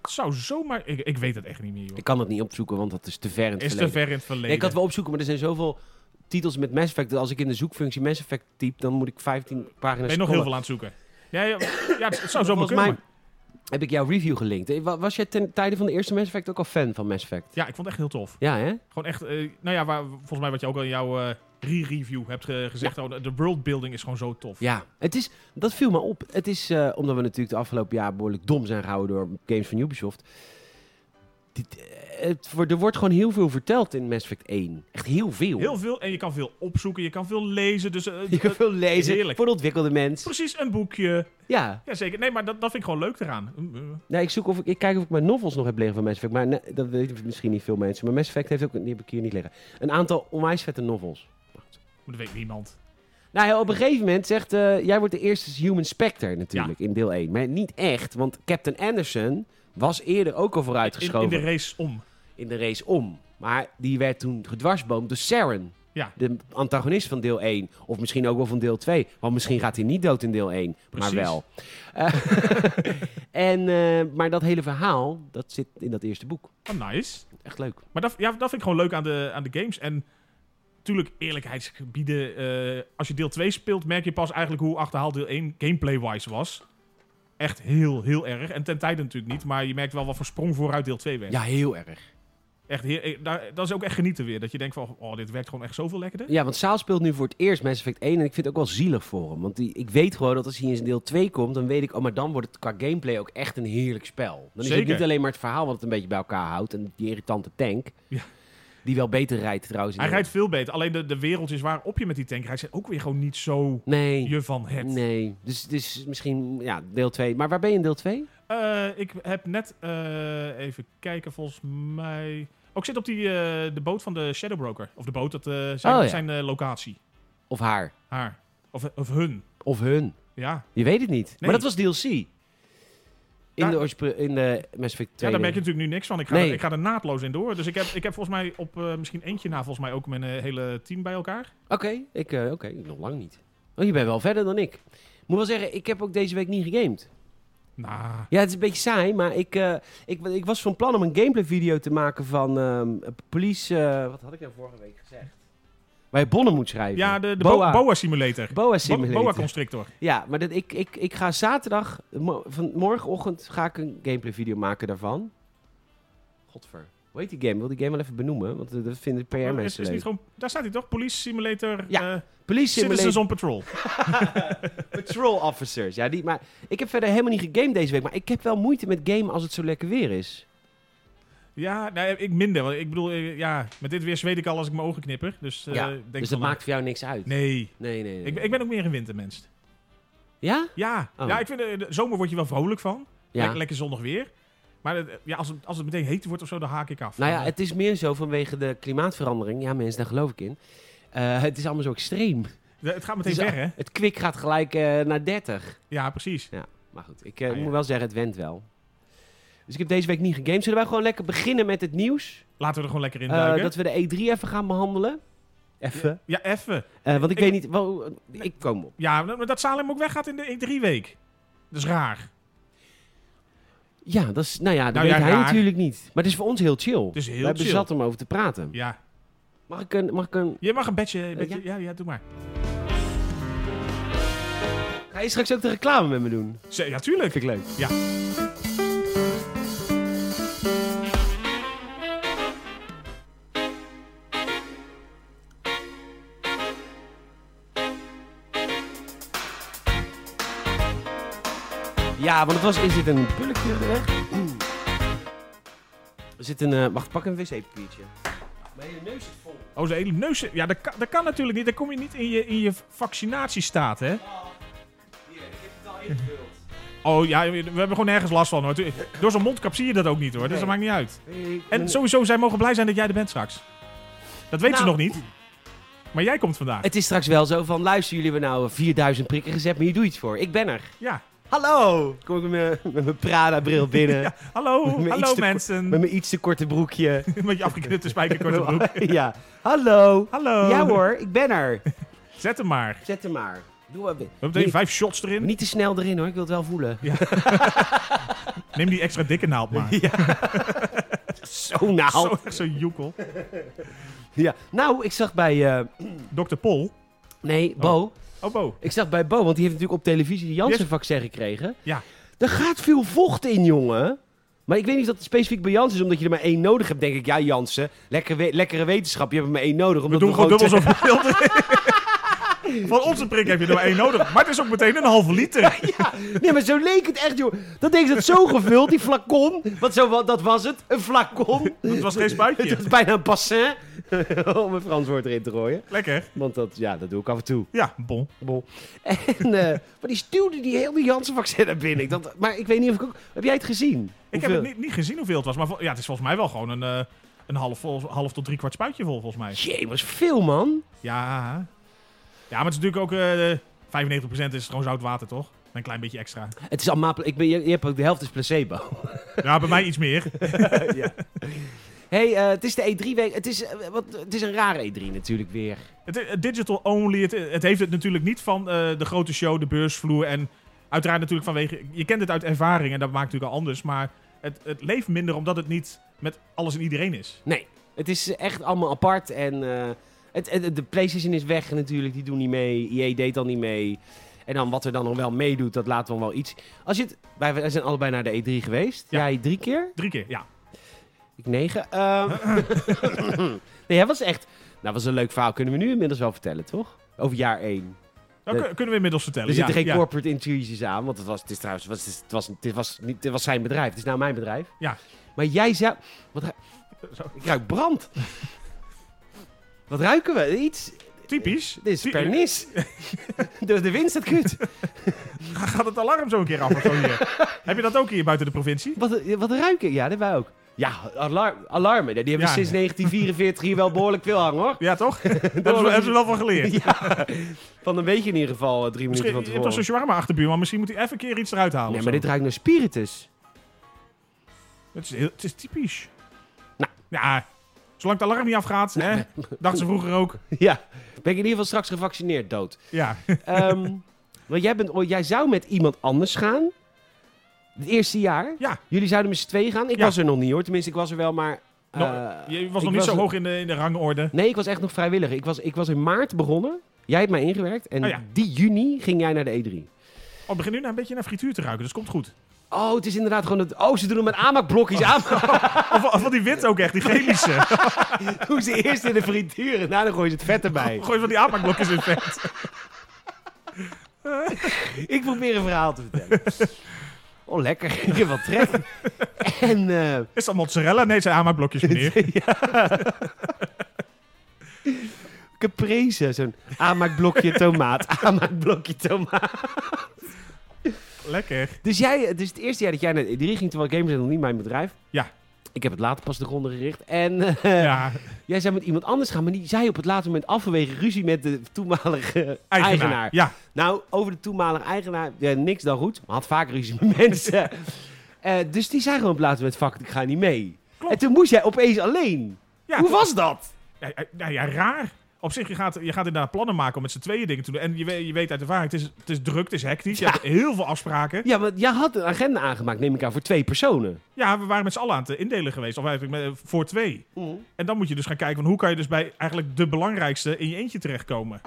Speaker 2: Het zou zomaar... Ik, ik weet het echt niet meer, joh.
Speaker 1: Ik kan dat niet opzoeken, want dat is te ver in het
Speaker 2: Is te
Speaker 1: verleden.
Speaker 2: ver in het verleden.
Speaker 1: Nee, ik had wel opzoeken, maar er zijn zoveel titels met Mass Effect... dat als ik in de zoekfunctie Mass Effect typ, dan moet ik 15 pagina's
Speaker 2: Ben je nog heel
Speaker 1: scrollen.
Speaker 2: veel aan het zoeken? Ja, ja, ja het, het zou zomaar
Speaker 1: Volgens
Speaker 2: kunnen.
Speaker 1: mij heb ik jouw review gelinkt. Eh, wa- Was jij ten tijde van de eerste Mass Effect ook al fan van Mass Effect?
Speaker 2: Ja, ik vond het echt heel tof.
Speaker 1: Ja, hè?
Speaker 2: Gewoon echt, eh, nou ja, waar, volgens mij wat je ook al in jouw eh, re-review hebt ge- gezegd. oh, de- de worldbuilding is gewoon zo tof.
Speaker 1: Ja, het is, dat viel me op. Het is, eh, omdat we natuurlijk de afgelopen jaar behoorlijk dom zijn gehouden door games van Ubisoft. Dit, eh, het, wordt- er wordt gewoon heel veel verteld in Mass Effect 1. Echt heel veel.
Speaker 2: Heel veel, en je kan veel opzoeken, je kan veel lezen. Dus eh,
Speaker 1: Je *laughs* kan
Speaker 2: eh,
Speaker 1: veel lezen
Speaker 2: heerlijk.
Speaker 1: voor de ontwikkelde mens.
Speaker 2: precies een boekje.
Speaker 1: Ja,
Speaker 2: Jazeker, nee, maar dat, dat vind ik gewoon leuk eraan. Mm, eh,
Speaker 1: nou, ik, zoek of ik, ik kijk of ik mijn novels nog heb liggen van Mass Effect. Maar nee, dat weten misschien niet veel mensen. Maar Mass Effect heeft ook, die heb ik hier niet liggen. Een aantal onwijs vette novels.
Speaker 2: Maar dat weet niemand.
Speaker 1: Nou ja, op een gegeven moment zegt... eh, jij wordt de eerste human specter natuurlijk in deel 1. Maar niet echt, want Captain Anderson was eerder ook al
Speaker 2: In,
Speaker 1: vooruitgeschoven.
Speaker 2: in de race om.
Speaker 1: in de race om. Maar die werd toen gedwarsboomd door Saren.
Speaker 2: Ja.
Speaker 1: De antagonist van deel 1. Of misschien ook wel van deel 2. Want misschien gaat hij niet dood in deel 1.
Speaker 2: Precies.
Speaker 1: Maar wel. Eh, *laughs* en, eh, maar dat hele verhaal, dat zit in dat eerste boek.
Speaker 2: Oh, nice.
Speaker 1: Echt leuk.
Speaker 2: Maar dat, ja, dat vind ik gewoon leuk aan de, aan de games. En natuurlijk, eerlijkheidsgebieden. eh, als je deel 2 speelt, merk je pas eigenlijk hoe achterhaald deel 1 gameplay-wise was. Echt heel, heel erg. En ten tijde natuurlijk niet, maar je merkt wel wat voor sprong vooruit deel 2 werd.
Speaker 1: Ja, heel erg.
Speaker 2: Echt heel, eh, daar, dat is ook echt genieten weer. Dat je denkt van, oh, dit werkt gewoon echt zoveel lekkerder.
Speaker 1: Ja, want Saal speelt nu voor het eerst Mass Effect 1. En ik vind het ook wel zielig voor hem. Want die, ik weet gewoon dat als hij in deel 2 komt, dan weet ik... Oh, maar dan wordt het qua gameplay ook echt een heerlijk spel. Dan is het
Speaker 2: Zeker.
Speaker 1: niet alleen maar het verhaal wat het een beetje bij elkaar houdt. En die irritante tank.
Speaker 2: Ja.
Speaker 1: Die wel beter rijdt trouwens. in
Speaker 2: Hij
Speaker 1: deel
Speaker 2: rijdt veel beter. Alleen de, de wereldjes waarop je met die tank rijdt, zijn ook weer gewoon niet zo
Speaker 1: Nee.
Speaker 2: je van het.
Speaker 1: Nee. Dus, dus misschien ja, deel 2. Maar waar ben je in deel 2?
Speaker 2: Eh, ik heb net, eh, even kijken, volgens mij... Ook zit op die, eh, de boot van de Shadow Broker. Of de boot, dat eh, zijn,
Speaker 1: Oh, ja.
Speaker 2: zijn eh, locatie.
Speaker 1: Of haar?
Speaker 2: Haar. Of, of hun.
Speaker 1: Of hun?
Speaker 2: Ja.
Speaker 1: Je weet het niet. Maar
Speaker 2: Nee.
Speaker 1: dat was DLC. In,
Speaker 2: Ja.
Speaker 1: de, oorspr- in de Mass Effect 2.
Speaker 2: ja, daar merk je natuurlijk nu niks van. Ik ga,
Speaker 1: Nee.
Speaker 2: er, ik ga er naadloos in door. Dus ik heb, ik heb volgens mij op eh, misschien eentje na volgens mij ook mijn eh, hele team bij elkaar.
Speaker 1: Oké, ik eh, oké, nog lang niet. Oh, je bent wel verder dan ik. Moet wel zeggen, ik heb ook deze week niet gegamed.
Speaker 2: Nou,
Speaker 1: Ja, het is een beetje saai, maar ik, eh, ik, ik was van plan om een gameplay video te maken van ehm, Police... eh, wat had ik nou vorige week gezegd? Waar je bonnen moet schrijven.
Speaker 2: Ja, de, de Bo-
Speaker 1: boa.
Speaker 2: boa. Simulator.
Speaker 1: Boa
Speaker 2: Bo-
Speaker 1: simulator.
Speaker 2: Boa Constrictor.
Speaker 1: Ja, maar dat, ik, ik, ik ga zaterdag, mo- van morgenochtend, ga ik een gameplay video maken daarvan. Godver. Hoe heet die game? Wil die game wel even benoemen? Want eh, dat vinden
Speaker 2: Is-
Speaker 1: PR-mensen
Speaker 2: is,
Speaker 1: leuk.
Speaker 2: niet gewoon, daar staat hij toch? Police Simulator.
Speaker 1: Ja,
Speaker 2: eh,
Speaker 1: Police
Speaker 2: Citizens
Speaker 1: Simulator
Speaker 2: on Patrol.
Speaker 1: Patrol Officers. Ja, die, maar ik heb verder helemaal niet gegamed deze week. Maar ik heb wel moeite met gamen als het zo lekker weer is.
Speaker 2: Ja, nou, ik minder. want Ik bedoel, eh, ja, met dit weer zweet ik al als ik mijn ogen knipper. Dus, eh,
Speaker 1: Ja,
Speaker 2: denk
Speaker 1: dus
Speaker 2: van,
Speaker 1: dat
Speaker 2: nou,
Speaker 1: maakt voor jou niks uit.
Speaker 2: Nee,
Speaker 1: Nee, nee, nee.
Speaker 2: ik, ben- ik ben ook meer een wintermens.
Speaker 1: Ja?
Speaker 2: Ja,
Speaker 1: Oh.
Speaker 2: ja ik vind, eh, de zomer word je wel vrolijk van.
Speaker 1: Ja.
Speaker 2: Lekker, lekker zonnig weer. Maar het- ja, als, het, als het meteen heet wordt of zo, dan haak ik af.
Speaker 1: Nou ja,
Speaker 2: Dan, eh,
Speaker 1: het is meer zo vanwege de klimaatverandering. Ja, mensen, daar geloof ik in. Eh, het is allemaal zo extreem.
Speaker 2: eh, het gaat meteen
Speaker 1: het is
Speaker 2: weg, hè?
Speaker 1: Het kwik gaat gelijk eh, naar 30.
Speaker 2: Ja, precies.
Speaker 1: Maar goed, ik eh,
Speaker 2: Ah, ja.
Speaker 1: moet wel zeggen, het went wel. Dus ik heb deze week niet gegamed. Zullen wij gewoon lekker beginnen met het nieuws?
Speaker 2: Laten we er gewoon lekker in
Speaker 1: Eh,
Speaker 2: duiken.
Speaker 1: dat we de E3 even gaan behandelen? Even.
Speaker 2: Ja, even.
Speaker 1: Eh, want ik,
Speaker 2: Ik-
Speaker 1: weet niet... wel, ik kom op.
Speaker 2: Ja, nou, maar dat Salem ook weggaat in de E3-week. Dat is raar.
Speaker 1: Ja, dat is, nou ja, dat
Speaker 2: Nou
Speaker 1: weet
Speaker 2: ja,
Speaker 1: hij
Speaker 2: raar.
Speaker 1: natuurlijk niet. Maar het is voor ons heel chill.
Speaker 2: Het is heel
Speaker 1: we hebben
Speaker 2: chill.
Speaker 1: zat om over te praten.
Speaker 2: Ja.
Speaker 1: Mag ik een... Mag ik een...
Speaker 2: Je mag een bedje... een bedje-
Speaker 1: Eh, ja?
Speaker 2: ja? Ja, doe maar.
Speaker 1: Ga je straks ook de reclame met me doen?
Speaker 2: Ze- Ja, tuurlijk.
Speaker 1: Vind ik leuk.
Speaker 2: Ja.
Speaker 1: Ja, want het was... Is dit een pulletje weg? Er zit een... eh, wacht, pak een wc-papiertje. Mijn hele neus zit vol.
Speaker 2: Oh, zijn hele neus... Ja, dat kan, dat kan natuurlijk niet. Dan kom je niet in je, in je vaccinatiestaat, hè?
Speaker 1: Hier, ik heb het al ingevuld.
Speaker 2: Oh ja, we hebben gewoon nergens last van, hoor. Tu- Door zo'n mondkap zie je dat ook niet, hoor. Dus
Speaker 1: Nee.
Speaker 2: dat maakt niet uit. En sowieso, zij mogen blij zijn dat jij er bent straks. Dat weten
Speaker 1: Nou.
Speaker 2: ze nog niet. Maar jij komt vandaag.
Speaker 1: Het is straks wel zo van... Luister, jullie hebben nou 4000 prikken gezet, maar je doet iets voor. Ik ben er.
Speaker 2: Ja.
Speaker 1: Hallo! Kom ik met mijn- met mijn Prada-bril
Speaker 2: *laughs*
Speaker 1: binnen.
Speaker 2: ja. Hallo,
Speaker 1: Met iets
Speaker 2: hallo
Speaker 1: te-
Speaker 2: mensen.
Speaker 1: Met mijn iets te korte broekje.
Speaker 2: *laughs* Met je afgeknipte spijkerkorte broek.
Speaker 1: *laughs* ja. Hallo.
Speaker 2: Hallo.
Speaker 1: Ja hoor, ik ben er.
Speaker 2: Zet hem maar.
Speaker 1: Zet hem maar. Doe maar.
Speaker 2: We hebben meteen
Speaker 1: niet,
Speaker 2: vijf shots erin.
Speaker 1: niet te snel erin hoor, ik wil het wel voelen.
Speaker 2: Neem die extra dikke naald maar. *laughs* Oh,
Speaker 1: Zo nou.
Speaker 2: Zo, echt zo'n joekel.
Speaker 1: Ja. Nou, ik zag bij... eh,
Speaker 2: Dr. Pol.
Speaker 1: nee, Bo.
Speaker 2: Oh, Bo.
Speaker 1: Ik zag bij Bo, want die heeft natuurlijk op televisie die Janssen-vaccin gekregen.
Speaker 2: Ja.
Speaker 1: Er gaat veel vocht in, jongen. Maar ik weet niet of dat specifiek bij Janssen is, omdat je er maar één nodig hebt. denk ik, ja Janssen, lekkere, we- lekkere wetenschap, je hebt er maar één nodig.
Speaker 2: We
Speaker 1: Omdat
Speaker 2: doen gewoon
Speaker 1: gewoon
Speaker 2: dubbel zoveel. erin. Van onze prik heb je er maar één nodig. Maar het is ook meteen een halve liter.
Speaker 1: te- *laughs* Nee, maar zo leek het echt, joh. Dat denk ik dat zo gevuld, die flacon. Want zo, wa- dat was het, een
Speaker 2: *laughs*
Speaker 1: flacon.
Speaker 2: Het was geen
Speaker 1: Het was
Speaker 2: spuitje.
Speaker 1: bijna een bassin, *laughs* om een Frans woord erin te gooien.
Speaker 2: Lekker.
Speaker 1: Want dat, ja, dat doe ik af en toe.
Speaker 2: Ja, bon.
Speaker 1: Bol. En, eh, *laughs* maar die stuwde die hele Janssen-vaccin naar binnen. Ik dacht, maar ik weet niet of ik ook... Heb jij het gezien?
Speaker 2: Ik heb
Speaker 1: Hoeveel-
Speaker 2: het niet, niet gezien hoeveel het was. Maar vol- ja, het is volgens mij wel gewoon een, eh, een half, vol- half tot drie kwart spuitje vol, volgens mij.
Speaker 1: Jee, was veel, man.
Speaker 2: Ja. Ja, maar het is natuurlijk ook... eh 95% is gewoon zout water, toch? Met Een klein beetje extra.
Speaker 1: Het is allemaal... pla- Ik ben, je, je hebt ook de helft is placebo. *laughs*
Speaker 2: Ja, bij mij iets meer.
Speaker 1: hey, eh, het is de E3-week. Het, is, eh, wat, het is een rare E3 natuurlijk weer.
Speaker 2: Het, is- het digital only, het, het heeft het natuurlijk niet van eh, de grote show, de beursvloer. En uiteraard natuurlijk vanwege. Je kent het uit ervaring en dat maakt natuurlijk al anders. Maar het, het leeft minder omdat het niet met alles en iedereen is.
Speaker 1: Nee, het is eh, echt allemaal apart. En eh, het, het- de PlayStation is weg natuurlijk. Die doen niet mee. EA deed al niet mee. En dan wat er dan nog wel meedoet, dat laat dan wel iets. Als je het, wij wij zijn allebei naar de E3 geweest.
Speaker 2: Ja.
Speaker 1: Jij drie keer?
Speaker 2: Drie keer, ja.
Speaker 1: Ik negen. Ehm, *laughs* nee, dat was echt... Nou, was een leuk verhaal. Kunnen we nu inmiddels wel vertellen, toch? Over jaar 1.
Speaker 2: Dat
Speaker 1: Eh,
Speaker 2: kun- kunnen we inmiddels vertellen.
Speaker 1: Er zitten
Speaker 2: ja,
Speaker 1: geen
Speaker 2: ja.
Speaker 1: corporate intrusies aan, want het was, het is trouwens, het was, het was, het was, niet, het was zijn bedrijf. Het is nou mijn bedrijf.
Speaker 2: Ja.
Speaker 1: Maar jij zou... Wat ru-
Speaker 2: Zo.
Speaker 1: Ik ruik
Speaker 2: *laughs*
Speaker 1: brand. wat ruiken we? Iets?
Speaker 2: Typisch.
Speaker 1: *laughs* Dit is
Speaker 2: Ty-
Speaker 1: pernis. de, de wind staat kut.
Speaker 2: *laughs* Gaat het alarm zo een keer af? of zo
Speaker 1: *laughs*
Speaker 2: hier? Heb je dat ook hier buiten de provincie?
Speaker 1: Wat, wat ruiken? Ja, dat wij ook. Ja, alarm, alarmen. Die hebben
Speaker 2: Ja.
Speaker 1: sinds 1944 hier wel behoorlijk veel hangen, hoor.
Speaker 2: Ja,
Speaker 1: *laughs*
Speaker 2: toch? *laughs* Daar hebben we- hebben ze wel van geleerd.
Speaker 1: Ja. Van een beetje in ieder geval eh, drie minuten
Speaker 2: Misschien,
Speaker 1: van
Speaker 2: je hebt toch zo'n
Speaker 1: tevoren.
Speaker 2: shawarma achterbuurman. Misschien moet hij even een keer iets eruit halen.
Speaker 1: Nee,
Speaker 2: of
Speaker 1: maar
Speaker 2: zo.
Speaker 1: dit ruikt naar spiritus.
Speaker 2: Het is, heel- het is typisch.
Speaker 1: Nou.
Speaker 2: Ja, zolang het alarm niet afgaat, hè, dachten ze vroeger ook.
Speaker 1: Ja, ben ik in ieder geval straks gevaccineerd dood.
Speaker 2: Ja,
Speaker 1: Ehm, *laughs* want jij, bent, ooit- jij zou met iemand anders gaan. Het eerste jaar.
Speaker 2: ja.
Speaker 1: Jullie zouden met z'n tweeën gaan. Ik
Speaker 2: Ja.
Speaker 1: was er nog niet hoor. Tenminste, ik was er wel, maar
Speaker 2: Nou,
Speaker 1: Eh,
Speaker 2: je was nog
Speaker 1: ik
Speaker 2: niet zo hoog in de, in de rangorde.
Speaker 1: Nee, ik was echt nog vrijwilliger. Ik was, ik was in maart begonnen. Jij hebt mij ingewerkt. En
Speaker 2: Oh ja.
Speaker 1: die juni ging jij naar de E E3.
Speaker 2: Oh, begin nu nou een beetje naar frituur te ruiken, dus komt goed.
Speaker 1: Oh, het is inderdaad gewoon... Het, oh, ze doen hem met aanmaakblokjes aan.
Speaker 2: Of, of van die wit ook echt, die chemische. *laughs*
Speaker 1: *laughs* Hoe ze eerst in de frituur en daarna gooien ze het vet erbij.
Speaker 2: Gooi van die aanmaakblokjes in het vet.
Speaker 1: *laughs* Ik probeer een verhaal te vertellen. *laughs* Oh, lekker. *laughs* Ik heb wat trek. En... eh,
Speaker 2: Is dat mozzarella? Nee, het zijn
Speaker 1: *laughs*
Speaker 2: aanmaakblokjes, meneer.
Speaker 1: Caprese, zo'n aanmaakblokje
Speaker 2: *laughs*
Speaker 1: tomaat, aanmaakblokje tomaat.
Speaker 2: Lekker.
Speaker 1: Dus jij, het is het eerste jaar dat jij naar de E3 ging, terwijl Gamers nog niet mijn bedrijf.
Speaker 2: Ja.
Speaker 1: Ik heb het later pas de gronden gericht. En eh, *laughs*
Speaker 2: Ja,
Speaker 1: jij zou met iemand anders gaan, maar die zei op het laatste moment af vanwege ruzie met de toenmalige eigenaar.
Speaker 2: eigenaar. Ja,
Speaker 1: Nou, over de toenmalige eigenaar, ja, niks dan goed. Maar had vaak ruzie met
Speaker 2: *laughs*
Speaker 1: mensen. Eh, dus die zei gewoon op het laatste moment, fuck, ik ga niet mee.
Speaker 2: Klopt.
Speaker 1: En toen moest jij opeens alleen.
Speaker 2: Ja,
Speaker 1: Hoe was dat?
Speaker 2: Ja, ja, nou ja, raar. Op zich, je gaat, je gaat inderdaad plannen maken om met z'n tweeën dingen te doen. En je, weet- je weet uit ervaring, het is, het is druk, het is hectisch.
Speaker 1: Ja.
Speaker 2: Je hebt heel veel afspraken.
Speaker 1: Ja, want jij had een agenda aangemaakt, neem ik aan, voor twee personen.
Speaker 2: Ja, we waren met z'n allen aan het indelen geweest. Of eigenlijk met- eh, voor twee. En dan moet je dus gaan kijken van hoe kan je dus bij eigenlijk de belangrijkste in je eentje terechtkomen.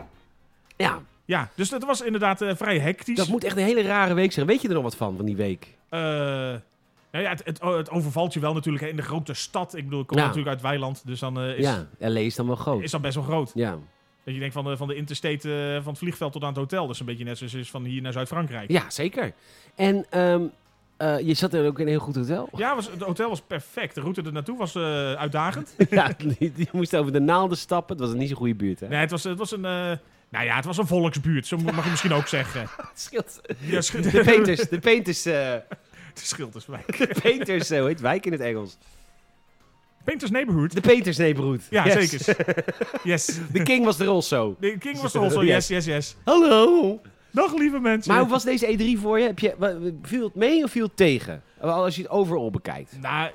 Speaker 1: Ja,
Speaker 2: Ja, dus dat was inderdaad eh, vrij hectisch.
Speaker 1: Dat moet echt een hele rare week zijn. Weet je er nog wat van, van die week?
Speaker 2: Eh, nou ja, het, het, het overvalt je wel natuurlijk hè, in de grote stad. Ik bedoel, ik kom
Speaker 1: Ja.
Speaker 2: natuurlijk uit Weiland, dus dan eh, is,
Speaker 1: Nou. ja, LA is dan wel groot.
Speaker 2: is dat best wel groot.
Speaker 1: Ja.
Speaker 2: Dat je denkt van de, van de interstate, eh, van het vliegveld tot aan het hotel. Dus een beetje net zoals is van hier naar Zuid-Frankrijk.
Speaker 1: ja, zeker. En ehm, eh, je zat er ook in een heel goed
Speaker 2: *laughs*
Speaker 1: hotel.
Speaker 2: Ja, was, het hotel was perfect. De route er naartoe was eh, uitdagend.
Speaker 1: ja, die, die moest over de naalden stappen. Het was niet zo'n goede buurt, hè?
Speaker 2: Nee, het was, het was een. eh, nou ja, het was een volksbuurt, zo mag je misschien ook
Speaker 1: *laughs*
Speaker 2: zeggen.
Speaker 1: Het scheelt.
Speaker 2: Ja, het scheelt-
Speaker 1: De Peters, de Peters, eh,
Speaker 2: Het scheelt dus mij.
Speaker 1: *laughs* de Peters, zo heet wijk in het Engels.
Speaker 2: Painters Neighborhood.
Speaker 1: De Peters neighborhood.
Speaker 2: Ja,
Speaker 1: Yes.
Speaker 2: zeker.
Speaker 1: *laughs*
Speaker 2: Yes.
Speaker 1: De King was er also.
Speaker 2: De King was er zo. Yes, yes, yes.
Speaker 1: Hallo.
Speaker 2: Dag, lieve mensen.
Speaker 1: Maar hoe was deze E3 voor je? Heb je wa- viel het mee of viel het tegen? Als je het overal bekijkt.
Speaker 2: Nou,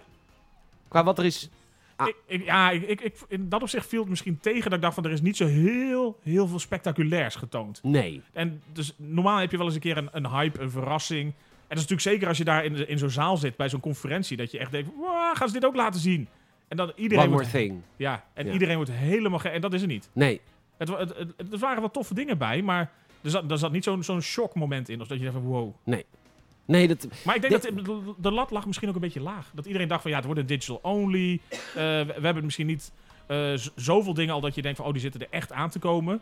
Speaker 1: Qua wat er is. Ah.
Speaker 2: ik, ik- ja, ik, ik, ik- in dat opzicht viel het misschien tegen dat ik dacht van er is niet zo heel, heel veel spectaculairs getoond.
Speaker 1: Nee.
Speaker 2: En dus normaal heb je wel eens een keer een, een hype, een verrassing. En dat is natuurlijk zeker als je daar in, in zo'n zaal zit bij zo'n conferentie, dat je echt denkt, "Wow, gaan ze dit ook laten zien? En dan iedereen
Speaker 1: One more
Speaker 2: wordt
Speaker 1: thing.
Speaker 2: Ja, en
Speaker 1: Ja.
Speaker 2: iedereen wordt helemaal ge En dat is er niet.
Speaker 1: Nee.
Speaker 2: Het, wa- het, het- het- er waren wel toffe dingen bij, maar er zat, er zat niet zo'n zo'n shockmoment in. Of dat je dacht van wow.
Speaker 1: Nee, dat,
Speaker 2: Maar ik denk dat de, de lat lag misschien ook een beetje laag. Dat iedereen dacht van ja, het wordt een digital only. Eh, we, we hebben misschien niet eh, z- zoveel dingen al dat je denkt van oh, die zitten er echt aan te komen.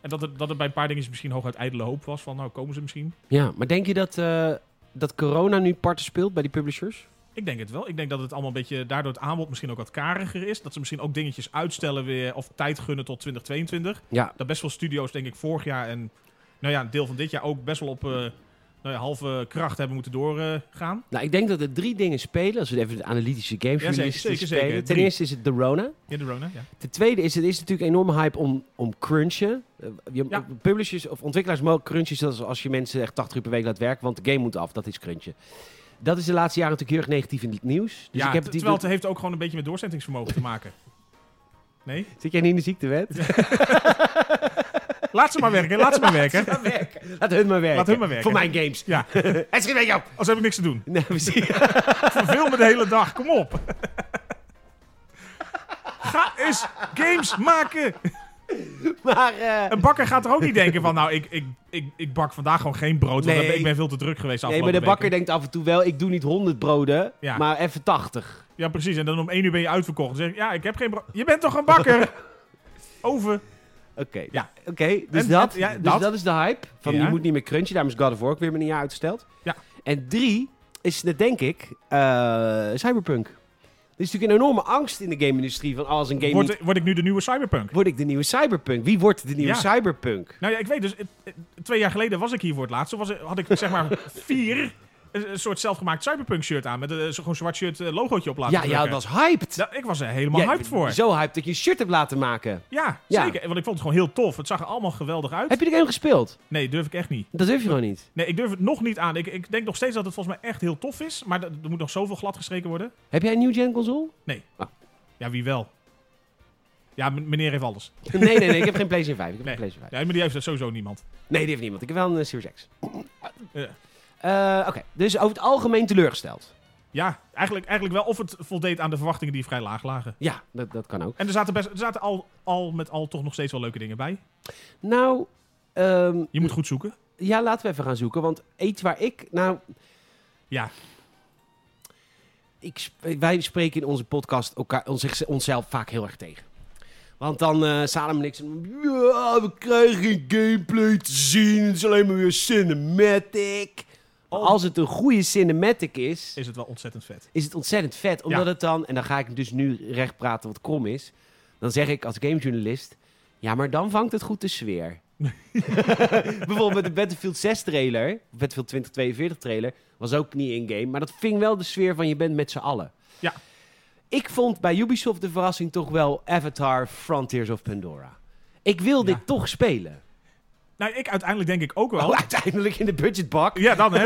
Speaker 2: En dat het, dat het bij een paar dingen misschien hooguit ijdele hoop was. Van nou, komen ze misschien?
Speaker 1: Ja, maar denk je dat, eh, dat corona nu parten speelt bij die publishers?
Speaker 2: Ik denk het wel. Ik denk dat het allemaal een beetje, daardoor het aanbod misschien ook wat kariger is. Dat ze misschien ook dingetjes uitstellen weer of tijd gunnen tot 2022.
Speaker 1: Ja.
Speaker 2: dat best veel studio's, denk ik, vorig jaar en nou ja, een deel van dit jaar ook best wel op eh, nou ja, halve kracht hebben moeten doorgaan.
Speaker 1: Nou, ik denk dat er drie dingen spelen, als we even de analytische games
Speaker 2: Ja, zeker,
Speaker 1: releases
Speaker 2: zeker,
Speaker 1: spelen.
Speaker 2: zeker.
Speaker 1: Ten
Speaker 2: Drie.
Speaker 1: eerste is het de Rona.
Speaker 2: in de Rona, ja.
Speaker 1: Ten tweede is het is natuurlijk een enorme hype om, om crunchen. Eh, je-
Speaker 2: Ja.
Speaker 1: Publishers of ontwikkelaars mogen crunchen zoals als je mensen echt 80 uur per week laat werken, want de game moet af. Dat is crunchen. Dat is de laatste jaren natuurlijk heel erg negatief in het nieuws. Dus
Speaker 2: ja
Speaker 1: ik heb
Speaker 2: t-
Speaker 1: het
Speaker 2: terwijl
Speaker 1: idee-
Speaker 2: het heeft ook gewoon een beetje met doorzettingsvermogen te maken. Nee?
Speaker 1: Zit jij niet in de ziektewet?
Speaker 2: Laat ze maar werken, laat ze maar werken.
Speaker 1: Laat werken. *laughs* Laat hun maar werken.
Speaker 2: Laat hun maar werken.
Speaker 1: Voor mijn games.
Speaker 2: Ja,
Speaker 1: Het schiet
Speaker 2: *laughs*
Speaker 1: met jou.
Speaker 2: als heb ik niks te doen.
Speaker 1: Nee, precies.
Speaker 2: Verveel me de hele dag, kom op. Ga eens games maken.
Speaker 1: *laughs* Maar... eh,
Speaker 2: Een bakker gaat er ook niet denken van, nou, ik, ik, ik, ik bak vandaag gewoon geen brood, want
Speaker 1: Nee.
Speaker 2: ik ben veel te druk geweest
Speaker 1: Nee,
Speaker 2: afgelopen
Speaker 1: maar de
Speaker 2: weken.
Speaker 1: bakker denkt af en toe wel, ik doe niet 100 broden,
Speaker 2: Ja.
Speaker 1: maar even 80.
Speaker 2: Ja, precies. En dan om één uur ben je uitverkocht. Dan zeg je, ja, ik heb geen... bro- Je bent toch een bakker?
Speaker 1: *laughs*
Speaker 2: Oven.
Speaker 1: Oké,
Speaker 2: Ja.
Speaker 1: Oké, dus,
Speaker 2: En-
Speaker 1: dat,
Speaker 2: en- ja,
Speaker 1: dus dat.
Speaker 2: dat.
Speaker 1: is de hype. Van
Speaker 2: Ja.
Speaker 1: je moet niet meer crunchen, daarom is God of War ook weer met een jaar uitgesteld.
Speaker 2: Ja.
Speaker 1: En drie is, net denk ik, eh, Cyberpunk. Er is natuurlijk een enorme angst in de game-industrie van oh, als een game niet-
Speaker 2: Word, word ik nu de nieuwe cyberpunk?
Speaker 1: Word ik de nieuwe Cyberpunk? Wie wordt de nieuwe
Speaker 2: Ja.
Speaker 1: Cyberpunk?
Speaker 2: Nou ja, ik weet dus... het- het- Twee jaar geleden was ik hier voor het laatst. Toen was, had ik
Speaker 1: *laughs*
Speaker 2: zeg maar vier... Een een soort zelfgemaakt cyberpunk shirt aan. Met een zo'n zwart shirt eh, logootje op laten
Speaker 1: Ja, ja,
Speaker 2: drukken.
Speaker 1: dat was hyped.
Speaker 2: Nou, ik was er helemaal
Speaker 1: Jij-
Speaker 2: hyped voor.
Speaker 1: Zo hyped dat je een shirt hebt laten maken.
Speaker 2: Ja,
Speaker 1: Ja.
Speaker 2: zeker. Want ik vond het gewoon heel tof. Het zag er allemaal geweldig uit.
Speaker 1: Heb je de game gespeeld?
Speaker 2: Nee, durf ik echt niet.
Speaker 1: Dat durf je gewoon niet.
Speaker 2: Nee, ik durf het nog niet aan. Ik, ik denk nog steeds dat het volgens mij echt heel tof is. Maar dat- er moet nog zoveel glad gestreken worden.
Speaker 1: Heb jij een nieuw gen
Speaker 2: *laughs*
Speaker 1: console?
Speaker 2: Ja, wie wel? Ja, m- meneer heeft alles.
Speaker 1: nee, nee, nee, ik heb geen PlayStation 5. Ik heb
Speaker 2: Nee.
Speaker 1: geen PlayStation 5.
Speaker 2: Ja, maar die heeft sowieso niemand.
Speaker 1: Nee, die heeft niemand. Ik heb wel een eh, Series X.
Speaker 2: Ja.
Speaker 1: Eh, Oké, dus over het algemeen teleurgesteld.
Speaker 2: Ja, eigenlijk, eigenlijk wel. Of het voldeed aan de verwachtingen die vrij laag lagen.
Speaker 1: Ja, dat, dat kan ook.
Speaker 2: En er zaten, best, er zaten al, al met al toch nog steeds wel leuke dingen bij.
Speaker 1: Nou, ehm,
Speaker 2: Je moet goed zoeken.
Speaker 1: ja, laten we even gaan zoeken. Want iets waar ik... Nou,
Speaker 2: Ja,
Speaker 1: ik, sp- wij spreken in onze podcast elkaar, ons, onszelf vaak heel erg tegen. Want dan eh Salem en ik zijn... Ja, we krijgen geen gameplay te zien. Het is alleen maar weer cinematic. Maar
Speaker 2: Oh.
Speaker 1: Als het een goede cinematic is,
Speaker 2: is het wel ontzettend vet.
Speaker 1: is het ontzettend vet. Omdat
Speaker 2: Ja.
Speaker 1: het dan... En dan ga ik dus nu recht praten wat krom is. Dan zeg ik als gamejournalist... Ja, maar dan vangt het goed de sfeer. Bijvoorbeeld met de Battlefield 6 trailer, Battlefield 2042 trailer, was ook niet in-game. Maar dat ving wel de sfeer van je bent met z'n allen.
Speaker 2: Ja.
Speaker 1: Ik vond bij Ubisoft de verrassing toch wel Avatar Frontiers of Pandora. Ik wil
Speaker 2: Ja.
Speaker 1: dit toch spelen.
Speaker 2: Nou, ik uiteindelijk denk ik ook wel.
Speaker 1: Oh, uiteindelijk in de budgetbak.
Speaker 2: Ja, dan hè.